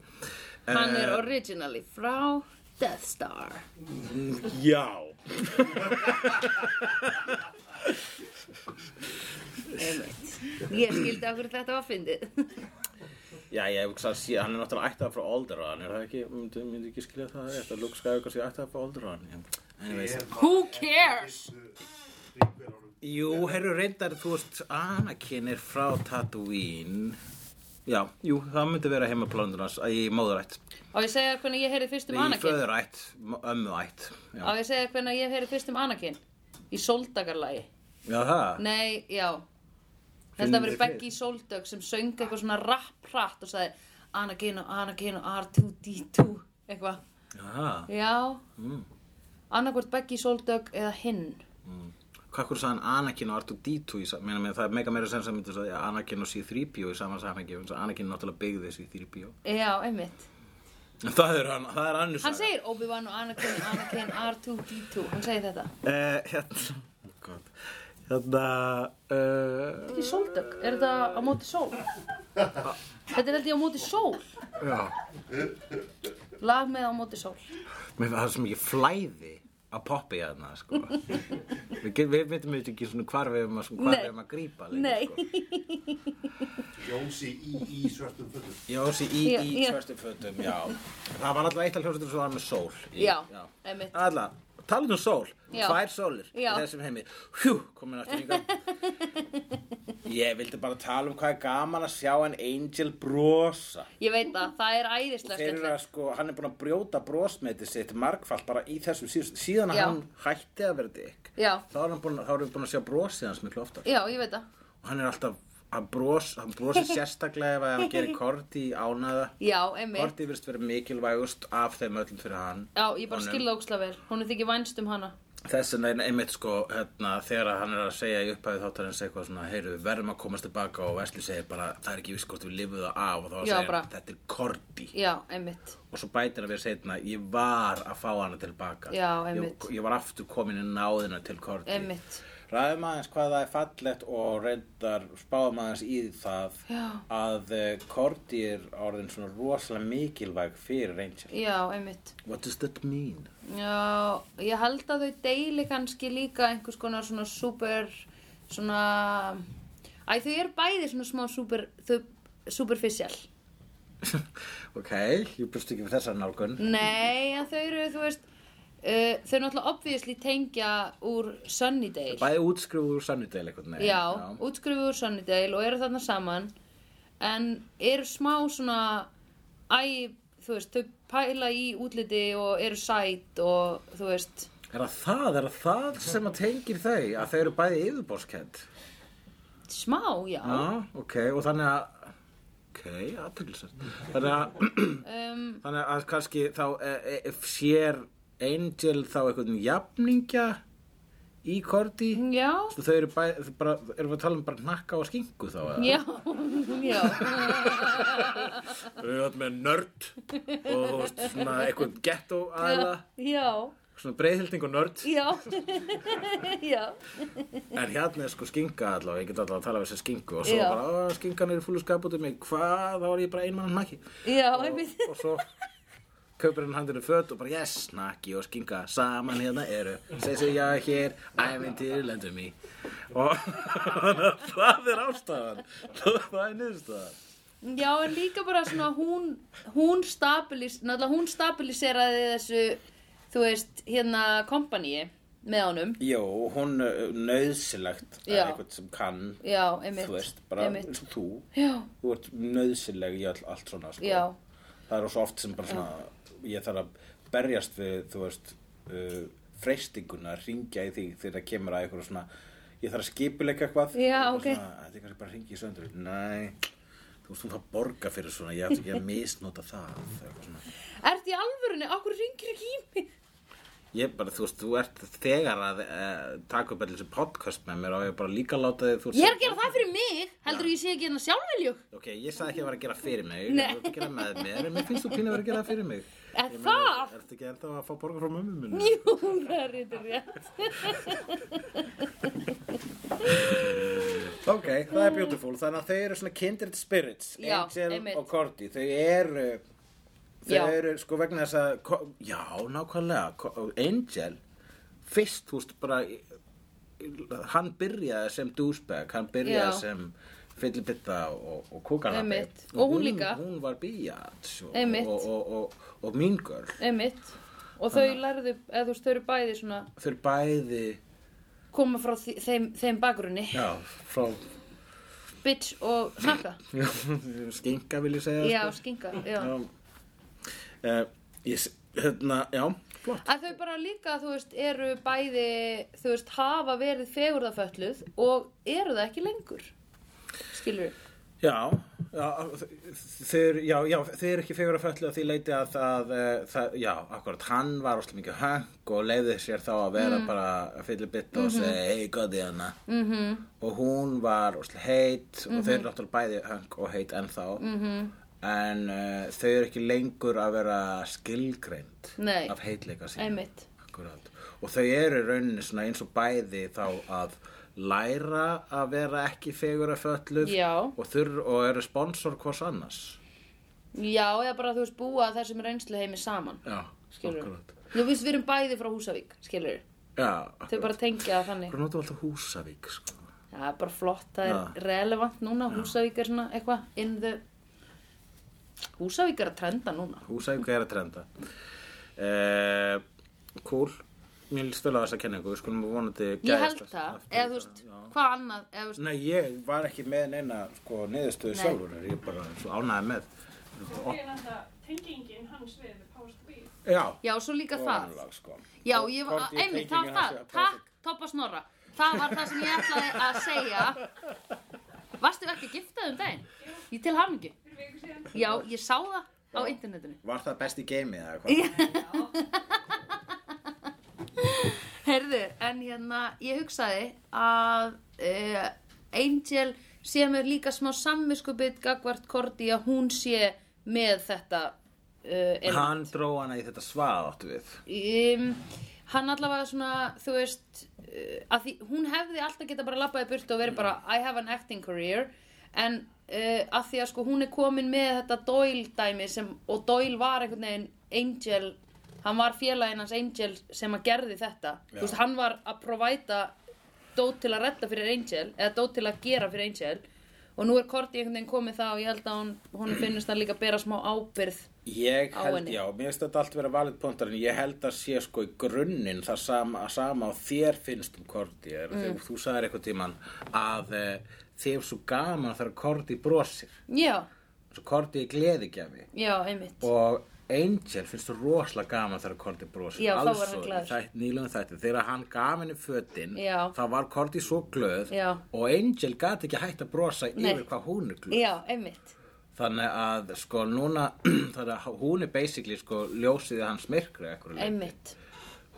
[SPEAKER 3] Hann er
[SPEAKER 1] Eh.
[SPEAKER 3] originally frá Death Star.
[SPEAKER 1] Eh, Já
[SPEAKER 3] Einmitt. Ég skildi okkur þetta var fyndið.
[SPEAKER 1] Já, ég hugsa að sé, hann er náttúrulega ættað frá Alderaan, er það ekki, myndi, myndi ekki skilja það rétt að Luke Skywalker sé ættað frá Alderaan. Anyways.
[SPEAKER 3] Who cares?
[SPEAKER 1] Jú, herru, reyndar, þú veist, Anakin er frá Tatooine. Já, jú, það myndi vera heimaplanundur hans í móðurætt.
[SPEAKER 3] Á ég segja hvernig ég heyri fyrst um
[SPEAKER 1] Í
[SPEAKER 3] Anakin.
[SPEAKER 1] föðurætt, m- ömmuætt. Já,
[SPEAKER 3] Á ég segja hvernig ég heyri fyrst um Anakin. Í soldagarlagi.
[SPEAKER 1] já það.
[SPEAKER 3] Nei, já Þetta
[SPEAKER 1] Finnur
[SPEAKER 3] verið
[SPEAKER 1] þið
[SPEAKER 3] Becky Soldögg sem söng eitthvað svona rapp-ratt og sagði Anakin og Anakin og R2-D2 eitthvað,
[SPEAKER 1] Já það.
[SPEAKER 3] já mm. annarkvort Becky Soldögg eða hinn
[SPEAKER 1] Hvað hverju sagði hann Anakin og R2-D2 í saman? Mér meina, það er mega meira sens að myndi sagði Anakin og C-3PO í saman samanhengi. vegna þess að Anakin náttúrulega byggði C-3PO.
[SPEAKER 3] Já, einmitt
[SPEAKER 1] En Það er, hann- það er annars.
[SPEAKER 3] Hann segir Obi-Wan og Anakin, Anakin, R2-D2 Hann segir þetta
[SPEAKER 1] Uh, hérna, oh God. hérna, uh,
[SPEAKER 3] Becky Soldögg, er þetta á móti sól? þetta er held ég á móti sól
[SPEAKER 1] já,
[SPEAKER 3] Lag með á móti sól
[SPEAKER 1] mér finnst það svo mikið flæði að poppa í hérna, sko. við, get- við veitum við ekki svona hvar við erum að, hvar
[SPEAKER 3] Nei.
[SPEAKER 1] við erum að grípa
[SPEAKER 3] Nei.
[SPEAKER 1] sko.
[SPEAKER 4] Jónsi í, í svörtum fötum.
[SPEAKER 1] Já, þessi í,
[SPEAKER 3] Já,
[SPEAKER 1] í
[SPEAKER 3] já.
[SPEAKER 1] svörstum fötum, já. Það var alltaf eitt af hljóðstum sem var með sól. Í,
[SPEAKER 3] Já, einmitt.
[SPEAKER 1] Alla, talað um sól,
[SPEAKER 3] Já.
[SPEAKER 1] tvær sólir
[SPEAKER 3] Já.
[SPEAKER 1] í þessum heimi. Hjú, komin aftur hingað.
[SPEAKER 3] [laughs]
[SPEAKER 1] Ég vildi bara tala um hvað er gaman að sjá en Angel brosa.
[SPEAKER 3] Ég veit það, það er æðislega
[SPEAKER 1] Þeir eru
[SPEAKER 3] skemmtilegt
[SPEAKER 1] að sko, hann er búin að brjóta brosmetið sitt margfalt bara í þessum síðust síðan að
[SPEAKER 3] Já.
[SPEAKER 1] hann hætti að vera dykk
[SPEAKER 3] Já.
[SPEAKER 1] þá er hann búin, þá erum við búin að sjá brosið hans miklu oftar
[SPEAKER 3] Já, ég veit það
[SPEAKER 1] og hann er alltaf, hann bros, hann
[SPEAKER 3] [laughs]
[SPEAKER 1] brosir sérstaklega ef hann gerir korti í ánaða
[SPEAKER 3] Já, einmitt
[SPEAKER 1] korti virðist verið mikilvægust af þeim öllum fyrir hann
[SPEAKER 3] Já, ég bara
[SPEAKER 1] Honum.
[SPEAKER 3] skil það ókslega vel. Hún er þykir vænst um hana.
[SPEAKER 1] Þess vegna er einmitt sko hérna, þegar að hann er að segja í upphæðu þáttarins eitthvað svona, heyrðu, við verðum að komast tilbaka og Vesli segir bara, það er ekki viss hvort við lifum það af og þá
[SPEAKER 3] Já,
[SPEAKER 1] segir hann,
[SPEAKER 3] bara.
[SPEAKER 1] þetta er korti
[SPEAKER 3] Já, einmitt.
[SPEAKER 1] og svo bætir hann við setna ég var að fá hana tilbaka
[SPEAKER 3] Já,
[SPEAKER 1] ég,
[SPEAKER 3] einmitt.
[SPEAKER 1] ég var aftur komin í náðina til Korti
[SPEAKER 3] Einmitt.
[SPEAKER 1] ræðum aðeins hvað það er fallegt og reyndar spáum aðeins í það
[SPEAKER 3] Já.
[SPEAKER 1] að eh, Korti er orðin svona rosalega mikilvæg fyrir Angel
[SPEAKER 3] Já, einmitt.
[SPEAKER 1] what does that mean?
[SPEAKER 3] Já, ég held að þau deili kannski líka einhvers konar svona super, svona... Æ, þau eru bæði svona smá super, þau, superficial.
[SPEAKER 1] [laughs] ok, ég bjóst ekki við þessar nálgun
[SPEAKER 3] Nei, en þau eru, þú veist, uh, þau náttúrulega obviously tengja úr Sunnydale.
[SPEAKER 1] bæði útskrifu úr Sunnydale einhvern veginn
[SPEAKER 3] já, útskrifuð úr Sunnydale og eru þarna saman en eru smá svona æ, þú veist, þau pæla í útliti og eru sæt og þú veist,
[SPEAKER 1] er það það, er það það sem að tengir þau að þau eru bæði yfirborskend
[SPEAKER 3] smá, já
[SPEAKER 1] Já, ok, og þannig að ok, aðtökulsast þannig að, [clears throat]
[SPEAKER 3] um,
[SPEAKER 1] þannig að e, kannski þá e, e, sér Angel þá einhvern jafningja í Korti
[SPEAKER 3] Já,
[SPEAKER 1] Sko, þau eru bæ, þau bara, erum við að tala um bara hnakka og skinku þá? eða?
[SPEAKER 3] já, [laughs] já.
[SPEAKER 1] Við erum alltaf með nörd og þú veist, svona eitthvað ghetto aðila,
[SPEAKER 3] Já,
[SPEAKER 1] svona breiðhilding og nörd.
[SPEAKER 3] já, [laughs] já,
[SPEAKER 1] En hérna er sko skinka allavega, ég get allavega að tala við þessa skinku og svo
[SPEAKER 3] Já.
[SPEAKER 1] bara, ó, skinkan er í fúlu skap út um mig, hvað, þá er ég bara einmann hnakki.
[SPEAKER 3] já,
[SPEAKER 1] Og,
[SPEAKER 3] einmitt.
[SPEAKER 1] og svo kaupir hann handinu föt og bara, yes, hnakki og skinka, saman hérna eru, segi sig já hér, ævintýr lendum í. Og [laughs] það er ástæðan, það er niðurstaðan.
[SPEAKER 3] Já, en líka bara svona hún, hún stabilis, náttúrulega hún stabiliseraði þessu, þú veist, hérna, kompaníi með honum.
[SPEAKER 1] Jó, hún uh, nauðsilegt er
[SPEAKER 3] Já.
[SPEAKER 1] eitthvað sem kann
[SPEAKER 3] Já, einmitt.
[SPEAKER 1] þú veist, bara
[SPEAKER 3] einmitt.
[SPEAKER 1] þú
[SPEAKER 3] Já,
[SPEAKER 1] þú ert nauðsileg í all, allt svona sko.
[SPEAKER 3] Já.
[SPEAKER 1] það er svo oft sem bara svona ég þarf að berjast við þú veist uh, freystinguna að ringja í því þegar það kemur að eitthvað svona ég þarf að skipuleika eitthvað
[SPEAKER 3] Já,
[SPEAKER 1] Bara
[SPEAKER 3] ok.
[SPEAKER 1] svona, þetta er kannski bara að ringja í söndur nei, þú veist, þú þarf að borga fyrir svona ég ætti ekki að misnota það eitthvað svona
[SPEAKER 3] ert í alvörunni, okkur ringir ekki í mig.
[SPEAKER 1] Ég bara, þú veist, þú ert þegar að e, taka upp allir þessi podcast með mér og ég bara líka að láta þig, þú veist.
[SPEAKER 3] Ég er að gera það fyrir mig, heldur ég sé ekki hérna sjálfveljúk.
[SPEAKER 1] Ok, ég sagði ekki að vera að gera fyrir mig, ég var að gera með mér, en mér finnst þú pínu að vera að gera það fyrir mig.
[SPEAKER 3] Er
[SPEAKER 1] Ég
[SPEAKER 3] það?
[SPEAKER 1] Ertu ekki ennþá að fá borga frá mömmu minni?
[SPEAKER 3] Jú, það er eitthvað rétt.
[SPEAKER 1] Ok, það er beautiful, þannig að þau eru svona kindred spirits,
[SPEAKER 3] Já,
[SPEAKER 1] Angel
[SPEAKER 3] einmitt.
[SPEAKER 1] og Cordy, þau eru, þau
[SPEAKER 3] Já.
[SPEAKER 1] eru sko vegna þess að, Co- já, nákvæmlega, Co- Angel, fyrst, þú veist, bara, hann byrjaði sem douchebag, hann byrjaði
[SPEAKER 3] Já.
[SPEAKER 1] sem fyllibitta og, og kúkanabbi.
[SPEAKER 3] Einmitt. Og hún líka.
[SPEAKER 1] Hún var bíjat og,
[SPEAKER 3] Einmitt.
[SPEAKER 1] og, og, og, og mean girl.
[SPEAKER 3] Einmitt. Og þau lærðu, eða þú veist, þau eru bæði svona,
[SPEAKER 1] Þau eru bæði,
[SPEAKER 3] koma frá þi- þeim, þeim bakgrunni.
[SPEAKER 1] já, frá [laughs]
[SPEAKER 3] Bitch og snakka.
[SPEAKER 1] skinka vil ég segja.
[SPEAKER 3] Já,
[SPEAKER 1] sko.
[SPEAKER 3] skinka, já.
[SPEAKER 1] Já. Eh, ég, s- hérna, já, flott.
[SPEAKER 3] Að þau bara líka, þú veist, eru bæði, þú veist, hafa verið fegurðafölluð og eru það ekki lengur. Skilur við?
[SPEAKER 1] Já, já, þeir, já, já, þeir eru ekki fegur að föllu að því leiti að það, eh, það já, akkurat, hann var óslega mikið höng og leiði sér þá að vera bara að fylla bytta og segja, hei, góði hana. Mm -hmm. Og hún var óslega heit og þeir eru náttúrulega bæði höng og heit ennþá. Mm -hmm. En uh, þau eru ekki lengur að vera skilgreind
[SPEAKER 3] Nei.
[SPEAKER 1] af heitleika sín.
[SPEAKER 3] Einmitt.
[SPEAKER 1] Akkurát. Og þau eru í rauninni svona eins og bæði þá að læra að vera ekki fegur að fölluð
[SPEAKER 3] Já.
[SPEAKER 1] og, þurr, og eru sponsor hvors annars.
[SPEAKER 3] Já, eða bara, þú veist, búa að þessum reynslu heimi saman.
[SPEAKER 1] Já,
[SPEAKER 3] Skilurðu.
[SPEAKER 1] akkurát.
[SPEAKER 3] Þú veist, við erum bæði frá Húsavík, skilur við?
[SPEAKER 1] Já,
[SPEAKER 3] Þau bara tengja það þannig.
[SPEAKER 1] Akkur notum alltaf Húsavík, sko.
[SPEAKER 3] Það er bara flott, það er
[SPEAKER 1] Já.
[SPEAKER 3] relevant núna, Húsavík er svona eitthvað in the... Húsavík er að trenda núna.
[SPEAKER 1] Húsavík er að trenda. Uh, cool. Mér líst vel á þessa kenningu, við skulum vonandi
[SPEAKER 3] Ég held
[SPEAKER 1] gæðast
[SPEAKER 3] það,
[SPEAKER 1] aftur í
[SPEAKER 3] eða þú veist, hvað annað, eða þú veist,
[SPEAKER 1] Nei, ég var ekki með neina sko, neðustöðu
[SPEAKER 3] Nei.
[SPEAKER 1] sjálfur, ég bara svo ánæði með.
[SPEAKER 6] Og er þetta tengingin hans við Powers to Be?
[SPEAKER 1] Já,
[SPEAKER 3] já, svo líka það.
[SPEAKER 1] Lag, sko.
[SPEAKER 3] Já,
[SPEAKER 1] Og
[SPEAKER 3] ég,
[SPEAKER 1] hvorki
[SPEAKER 3] einmitt, það var
[SPEAKER 1] tengingin
[SPEAKER 3] það,
[SPEAKER 1] hans-
[SPEAKER 3] takk, Toppa Snorra. Það var það sem ég ætlaði að segja. Varstu ekki giftað um daginn? Ég til hamingju.
[SPEAKER 6] Fyrir viku síðan.
[SPEAKER 3] Já, ég sá það á internetinu.
[SPEAKER 1] Var það best í geimið eða hvað?
[SPEAKER 3] Herðu, en hérna, ég hugsaði að uh, Angel sé mér líka smá samviskubið gagvart Korti að hún sé með þetta uh,
[SPEAKER 1] Hann dró hana í þetta svað áttu við.
[SPEAKER 3] um, hann allavega svona, þú veist uh, að því, hún hefði alltaf geta bara labbaði burt og verið bara I have an acting career en uh, að því að sko hún er komin með þetta Doyle dæmi sem, og Doyle var einhvern veginn Angel, hann var félaginn hans Angel sem að gerði þetta
[SPEAKER 1] Já.
[SPEAKER 3] þú veist, hann var að provæta dót til að redda fyrir Angel eða dót til að gera fyrir Angel og nú er Korti einhvern veginn komið það og ég held að hún, hún finnst það líka að bera smá ábyrð
[SPEAKER 1] Ég
[SPEAKER 3] Á
[SPEAKER 1] held,
[SPEAKER 3] henni.
[SPEAKER 1] já, mér finnst þetta allt vera valið póntar en ég held að sé sko í grunninn það sama, að sama á þér finnst um Korti er,
[SPEAKER 3] Mm.
[SPEAKER 1] þegar þú sagðir eitthvað tíman að e, þið er svo gaman þegar Korti brosir
[SPEAKER 3] já,
[SPEAKER 1] svo Korti er gleðigjafi
[SPEAKER 3] já, einmitt
[SPEAKER 1] og Angel finnst þú rosalega gaman þegar Korti brosir
[SPEAKER 3] Já, þá var
[SPEAKER 1] Alls
[SPEAKER 3] hann
[SPEAKER 1] og í
[SPEAKER 3] glaður.
[SPEAKER 1] þætt, nýlum þætti, þegar hann gaf henni fötin
[SPEAKER 3] Já.
[SPEAKER 1] þá var Korti svo glöð
[SPEAKER 3] Já.
[SPEAKER 1] og Angel gat ekki hægt að brosa
[SPEAKER 3] Nei.
[SPEAKER 1] yfir hvað hún er glöð
[SPEAKER 3] já, einmitt
[SPEAKER 1] Þannig að sko [clears throat] núna, þannig að hún er basically sko ljósið í hans myrkri ekkur leik.
[SPEAKER 3] Einmitt.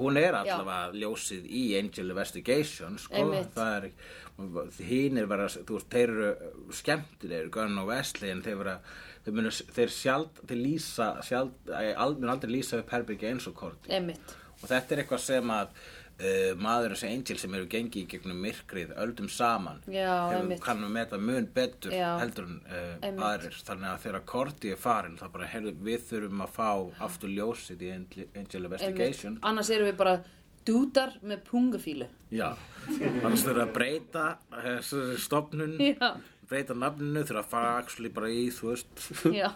[SPEAKER 1] Hún er allavega ljósið í Angel Investigation, sko.
[SPEAKER 3] Einmitt.
[SPEAKER 1] Það er, hínir vera, þú veist, þeir eru skemmtilegir, Gunn og Wesley, en þeir vera, þeir munu, þeir sjald, þeir lýsa, sjald, al, munu aldrei lýsa upp herbyggja eins og Korti.
[SPEAKER 3] Einmitt.
[SPEAKER 1] Og þetta er eitthvað sem að uh, maður þessi Angel sem eru gengið í gegnum myrkrið öldum saman
[SPEAKER 3] Já,
[SPEAKER 1] hefur
[SPEAKER 3] einmitt.
[SPEAKER 1] kannum með þetta mun betur
[SPEAKER 3] Já.
[SPEAKER 1] heldur en uh,
[SPEAKER 3] Einmitt.
[SPEAKER 1] aðrir þannig að þegar Korti er farin þá bara heyrðu, við þurfum að fá aftur ljósið í Angel Angel Investigation
[SPEAKER 3] Einmitt. Annars erum við bara dúdar með pungafílu.
[SPEAKER 1] Já, annars þurfa að breyta uh, stofnun,
[SPEAKER 3] [laughs] Já.
[SPEAKER 1] breyta nafninu, þurfa að fara axli bara í, þú veist,
[SPEAKER 3] Já.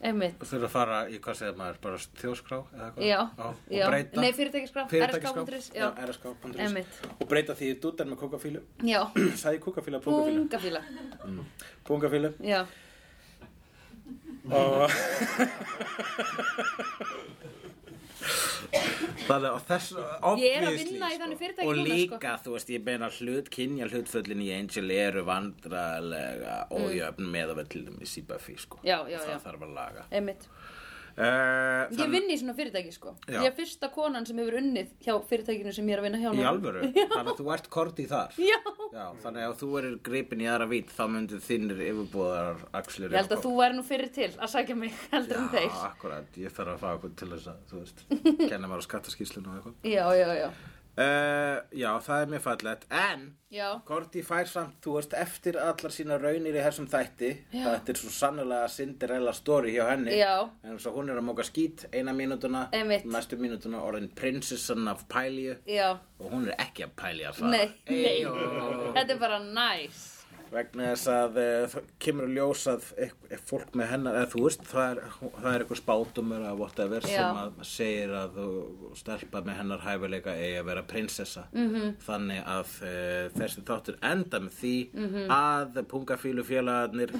[SPEAKER 3] Einmitt.
[SPEAKER 1] þurfa að fara í, hvað segir maður, bara þjóskrá eða hvað?
[SPEAKER 3] Já.
[SPEAKER 1] og
[SPEAKER 3] Já.
[SPEAKER 1] breyta.
[SPEAKER 3] Nei, fyrirtækiskrá,
[SPEAKER 1] Fyrirtækiskrá,
[SPEAKER 3] RSK.is, já.
[SPEAKER 1] já, RSK.is.
[SPEAKER 3] Einmitt.
[SPEAKER 1] Og breyta því í dúttar með kókafílu,
[SPEAKER 3] Já.
[SPEAKER 1] sagði kókafíla, plókafílu,
[SPEAKER 3] Pungafíla.
[SPEAKER 1] pungafílu
[SPEAKER 3] Já.
[SPEAKER 1] og... Þannig að þess
[SPEAKER 3] Ég er að
[SPEAKER 1] obviously, sko.
[SPEAKER 3] vinna í þannig fyrirtæki
[SPEAKER 1] Og
[SPEAKER 3] núna, sko.
[SPEAKER 1] líka, þú veist, ég meina hlut kynja hlutföllin í Angel eru vandræðilega ójöfn með að vera til dæmis í Buffy, sko
[SPEAKER 3] Mm. Já, já,
[SPEAKER 1] Það
[SPEAKER 3] já.
[SPEAKER 1] þarf að laga
[SPEAKER 3] Einmitt.
[SPEAKER 1] uh,
[SPEAKER 3] Ég vinn í svona fyrirtæki sko.
[SPEAKER 1] Já.
[SPEAKER 3] Ég er fyrsta konan sem hefur unnið hjá fyrirtækinu sem ég er að vinna hjá
[SPEAKER 1] Í
[SPEAKER 3] núna.
[SPEAKER 1] alvöru, þannig að þú ert korti þar
[SPEAKER 3] Já.
[SPEAKER 1] Já, þannig að ef þú erir gripin í aðra vít þá myndir þinnir yfirbúðar axlir
[SPEAKER 3] Ég held að þú væri nú fyrir til að sækja mig [laughs] heldur en
[SPEAKER 1] Já,
[SPEAKER 3] þeir.
[SPEAKER 1] akkurat, ég þarf að fá eitthvað til þess að, þú veist, kenna maður á skattaskýslun og eitthvað
[SPEAKER 3] Já, já, já.
[SPEAKER 1] Uh, já, það er mjög fallegt, en
[SPEAKER 3] Já,
[SPEAKER 1] Korti fær samt, þú veist, eftir allar sína raunir í þessum þætti Þetta er svo sannlega Cinderella story hjá henni
[SPEAKER 3] Já.
[SPEAKER 1] En svo hún er að móka skít eina mínútuna
[SPEAKER 3] Einmitt.
[SPEAKER 1] Næstu mínútuna orðin prinsessan af pælju
[SPEAKER 3] já.
[SPEAKER 1] Og hún er ekki af pælju að fara
[SPEAKER 3] Nei, nei.
[SPEAKER 1] Eyjó.
[SPEAKER 3] Þetta er bara næs.
[SPEAKER 1] Vegna þess að uh, það kemur að ljósað fólk með hennar eða, Þú veist, það er, það er eitthvað spátumur að whatever
[SPEAKER 3] Já.
[SPEAKER 1] sem að segir að þú stelpa með hennar hæfileika eigi að vera prinsessa
[SPEAKER 3] Mhm.
[SPEAKER 1] -hmm. þannig að uh, þessi þáttur enda með því
[SPEAKER 3] Mhm.
[SPEAKER 1] að pungafílu
[SPEAKER 3] [laughs]
[SPEAKER 1] félagarnir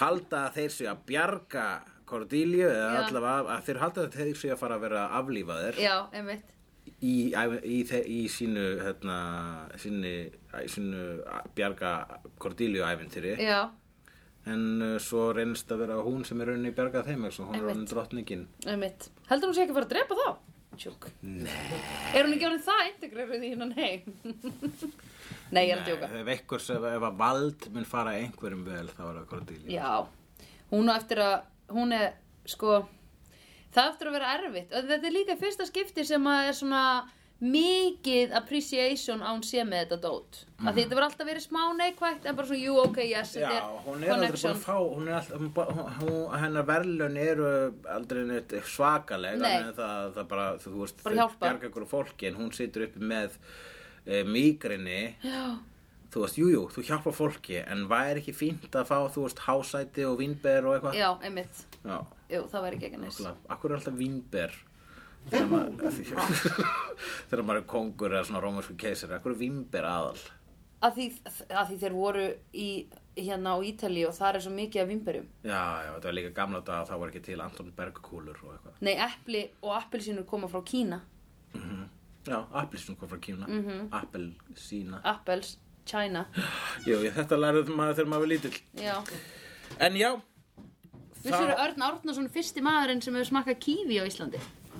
[SPEAKER 1] halda að þeir séu að bjarga Cordelia eða
[SPEAKER 3] Já.
[SPEAKER 1] allavega að þeir halda að þeir séu að fara að vera aflífaðir
[SPEAKER 3] Já, einmitt.
[SPEAKER 1] í, í, þe- í sínu hérna, sínu, í sínu bjarga Cordelia æventýri
[SPEAKER 3] Já,
[SPEAKER 1] en uh, svo reynst að vera hún sem er rauninni bjargað þeim eins og hún er
[SPEAKER 3] Einmitt.
[SPEAKER 1] raunin drottningin
[SPEAKER 3] einmitt. Heldur hún sé ekki að fara að drepa þá? Tjók. Nei. Er hún ekki orðin það integreruð í hennan heim? [laughs] nei, ég er að djóka.
[SPEAKER 1] Nei, ef einhver sem ef að vald mun fara einhverjum vel þá er það Cordelia
[SPEAKER 3] Já, hún á eftir að, hún er, sko, það á eftir að vera erfitt. Og þetta er líka fyrsta skipti sem að er svona mikið appreciation á hún sé með þetta dót. Mm.
[SPEAKER 1] Mhm.
[SPEAKER 3] Því þetta verður alltaf verið smá neikvægt en bara svona, jú, ok, yes, þetta er
[SPEAKER 1] hún er aldrei búin að fá hún er alltaf, hún, ba- hún, hún- hennar verðlun eru aldrei neitt svakaleg
[SPEAKER 3] Nei.
[SPEAKER 1] en það, það bara, þú veist,
[SPEAKER 3] Bara hjálpa.
[SPEAKER 1] bjarga ykkur fólki en hún situr uppi með e, mýgrinni Já Þú veist, jújú, jú, þú hjálpa fólki, en væri ekki fínt að fá, þú veist, hásæti og vínber og eitthvað?
[SPEAKER 3] Já, einmitt.
[SPEAKER 1] Já,
[SPEAKER 3] Jú, það væri ekki ekki næst.
[SPEAKER 1] okkurlega. Akkur er alltaf vínber þegar maður, [laughs] þegar maður er kongur eða svona rómarsku keisari, akkur er vínber aðal?
[SPEAKER 3] Að því, að því þeir voru í, hérna á Ítali og það er svo mikið af vimberjum.
[SPEAKER 1] Já, já, þetta var líka gamla daga, það var ekki til Anton Bergkúlur og eitthvað.
[SPEAKER 3] Nei, epli og appelsínur koma frá Kína.
[SPEAKER 1] Já, appelsín kom frá Kína, mm -hmm. appelsína. [laughs]
[SPEAKER 3] Apples, China.
[SPEAKER 1] Jú, ég, þetta lærið maður þegar maður var lítill.
[SPEAKER 3] Já.
[SPEAKER 1] En já,
[SPEAKER 2] Vissur að Örn Árnason er fyrsti maðurinn sem hefur smakkað kífi á Íslandi?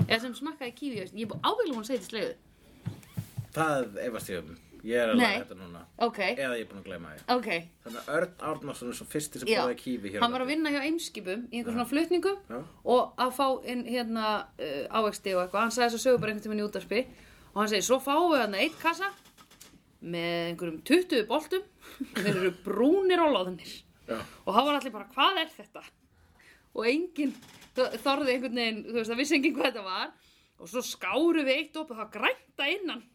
[SPEAKER 2] Eða sem smakkaði kífi á Íslandi? Ég er búin ábyggilega hún að segja þetta í slegðu.
[SPEAKER 1] það efast ég um. Ég er að læra
[SPEAKER 2] Nei.
[SPEAKER 1] þetta núna.
[SPEAKER 2] Ok,
[SPEAKER 1] Eða ég er búin að gleyma því.
[SPEAKER 2] ok.
[SPEAKER 1] Þannig að Örn Árnason er svo fyrsti sem
[SPEAKER 2] Já,
[SPEAKER 1] búið að kífi hér. á
[SPEAKER 3] hann var að
[SPEAKER 1] landi.
[SPEAKER 3] vinna hjá eimskipum í einhver svona flutningum
[SPEAKER 1] Já.
[SPEAKER 3] og að fá inn hérna uh, ávegsti og eitthvað, hann sagði þess að sögur bara einhvern tímann í útarpi og hann segi, svo fáum við hann eitt kassa með einhverjum 20 boltum [laughs] þeir eru brúnir og loðnir
[SPEAKER 1] Já.
[SPEAKER 3] og hann var allir bara, hvað er þetta? og enginn þor- þorði einhvern veginn, þú veist, það vissi enginn hvað þetta var og svo skáru við eitt opið það grænta innan [laughs]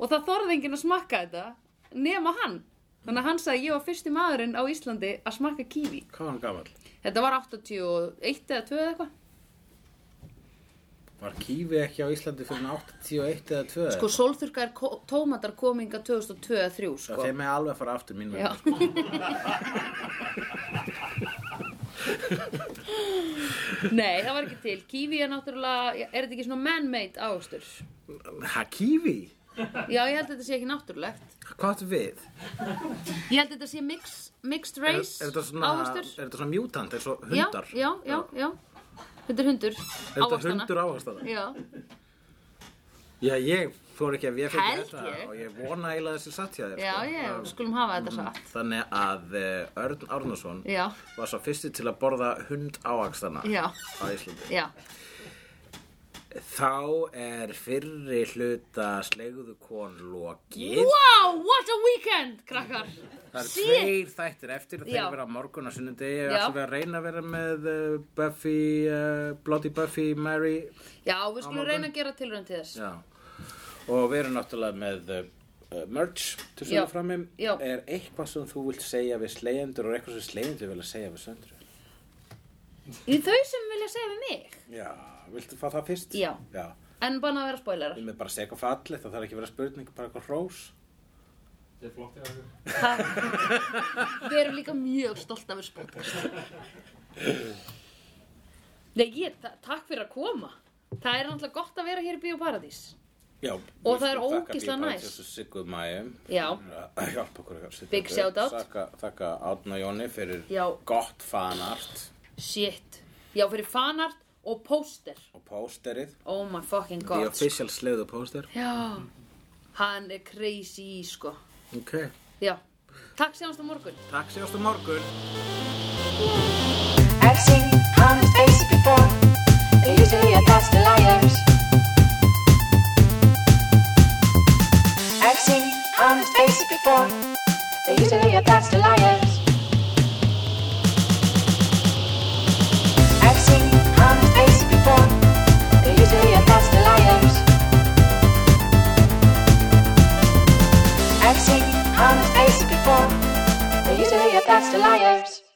[SPEAKER 3] og það þorði enginn að smakka þetta nema hann þannig að hann sagði ég var fyrsti maðurinn á Íslandi að smakka kífi
[SPEAKER 1] Hvað var hann gamall?
[SPEAKER 3] þetta var 81 eða 2 eða eitthvað
[SPEAKER 1] Var kífi ekki á Íslandi fyrir 81 eða 2?
[SPEAKER 3] sko sólþurkar tómatar kominga 2002 eða 3
[SPEAKER 1] Já,
[SPEAKER 3] sko
[SPEAKER 1] þeir með alveg fara aftur mín
[SPEAKER 3] Já.
[SPEAKER 1] vegna. sko.
[SPEAKER 3] nei það var ekki til kífi er náttúrulega er þetta ekki svona man-made áhustur
[SPEAKER 1] Ha, kífi?
[SPEAKER 3] já ég held að þetta sé ekki náttúrulegt
[SPEAKER 1] Hvað áttu við?
[SPEAKER 2] Ég held að þetta sé mix, mixed
[SPEAKER 1] Er, er,
[SPEAKER 2] race
[SPEAKER 1] þetta svona, er
[SPEAKER 2] ávöxtur.
[SPEAKER 1] þetta svona mutant, eins og hundar?
[SPEAKER 2] Já, já, já, já.
[SPEAKER 3] Þetta er hundur.
[SPEAKER 1] Er þetta
[SPEAKER 3] Ávaxtanna.
[SPEAKER 1] hundur ávaxtana?
[SPEAKER 3] Já.
[SPEAKER 1] Já, ég fór ekki að ég fengi
[SPEAKER 3] Held
[SPEAKER 1] þetta
[SPEAKER 3] ég.
[SPEAKER 1] og ég vona eiginlega þessi satt hjá þér.
[SPEAKER 3] Já,
[SPEAKER 1] sko.
[SPEAKER 3] já, við skulum hafa þetta satt.
[SPEAKER 1] Þannig að eh, Örn Árnason
[SPEAKER 3] Já,
[SPEAKER 1] var svo fyrsti til að borða hund ávaxtana
[SPEAKER 3] já,
[SPEAKER 1] á Íslandi.
[SPEAKER 3] já.
[SPEAKER 1] Þá er fyrri hluta slegðu kon lokið.
[SPEAKER 3] Wow, what a weekend, krakkar!
[SPEAKER 1] Það eru
[SPEAKER 3] Shit.
[SPEAKER 1] tveir þættir eftir þeir
[SPEAKER 3] Já.
[SPEAKER 1] vera á morgun og sunnudegi og
[SPEAKER 3] Já.
[SPEAKER 1] ætlum við að reyna að vera með uh, Buffy, uh, Bloody Buffy, Mary
[SPEAKER 3] Já, við skulum
[SPEAKER 1] morgun.
[SPEAKER 3] reyna að gera tilraun til þess.
[SPEAKER 1] Já. og við erum náttúrulega með uh, uh, merch til
[SPEAKER 3] Já.
[SPEAKER 1] svona framim
[SPEAKER 3] Já.
[SPEAKER 1] er eitthvað sem þú vilt segja við slegjendur og eitthvað sem slegjendur vilja segja við söndur
[SPEAKER 3] Í þau sem vilja segja við mig.
[SPEAKER 1] Já, viltu fá það fyrst?
[SPEAKER 3] Já.
[SPEAKER 1] Já,
[SPEAKER 3] En banna að vera spoilerar.
[SPEAKER 1] við með bara segja eitthvað fallið það þarf ekki að vera spurning, bara eitthvað hrós
[SPEAKER 7] Þetta er flott í þessu.
[SPEAKER 3] Við erum líka mjög stolt af þessu podcast. Nei, ég, ta- takk fyrir að koma. Það er náttúrulega gott að vera hér í Bíóparadís.
[SPEAKER 1] Já,
[SPEAKER 3] Og það er ógeðslega næs.
[SPEAKER 1] Siggu Mæjum
[SPEAKER 3] Já.
[SPEAKER 1] að hjálpa okkur að setja
[SPEAKER 3] Big
[SPEAKER 1] þetta
[SPEAKER 3] shout
[SPEAKER 1] upp.
[SPEAKER 3] out.
[SPEAKER 1] Þakka, þakka Átna Jóni fyrir
[SPEAKER 3] Já.
[SPEAKER 1] gott fanart
[SPEAKER 3] Shit. Já, fyrir fanart og póster.
[SPEAKER 1] og pósterið
[SPEAKER 3] Oh my fucking
[SPEAKER 1] The
[SPEAKER 3] god.
[SPEAKER 1] official sleiðu póster
[SPEAKER 3] Já. Hann er crazy, sko.
[SPEAKER 1] Ok,
[SPEAKER 3] Já. Takk sjáumst á morgun.
[SPEAKER 1] takk séast á morgun
[SPEAKER 8] I've seen honest faces before. They're usually a pass to liars. I've seen honest faces before. They're usually a pass to liars. I've seen honest faces before. They're usually a pass to liars. I've seen honest faces before. They're usually a pass to liars.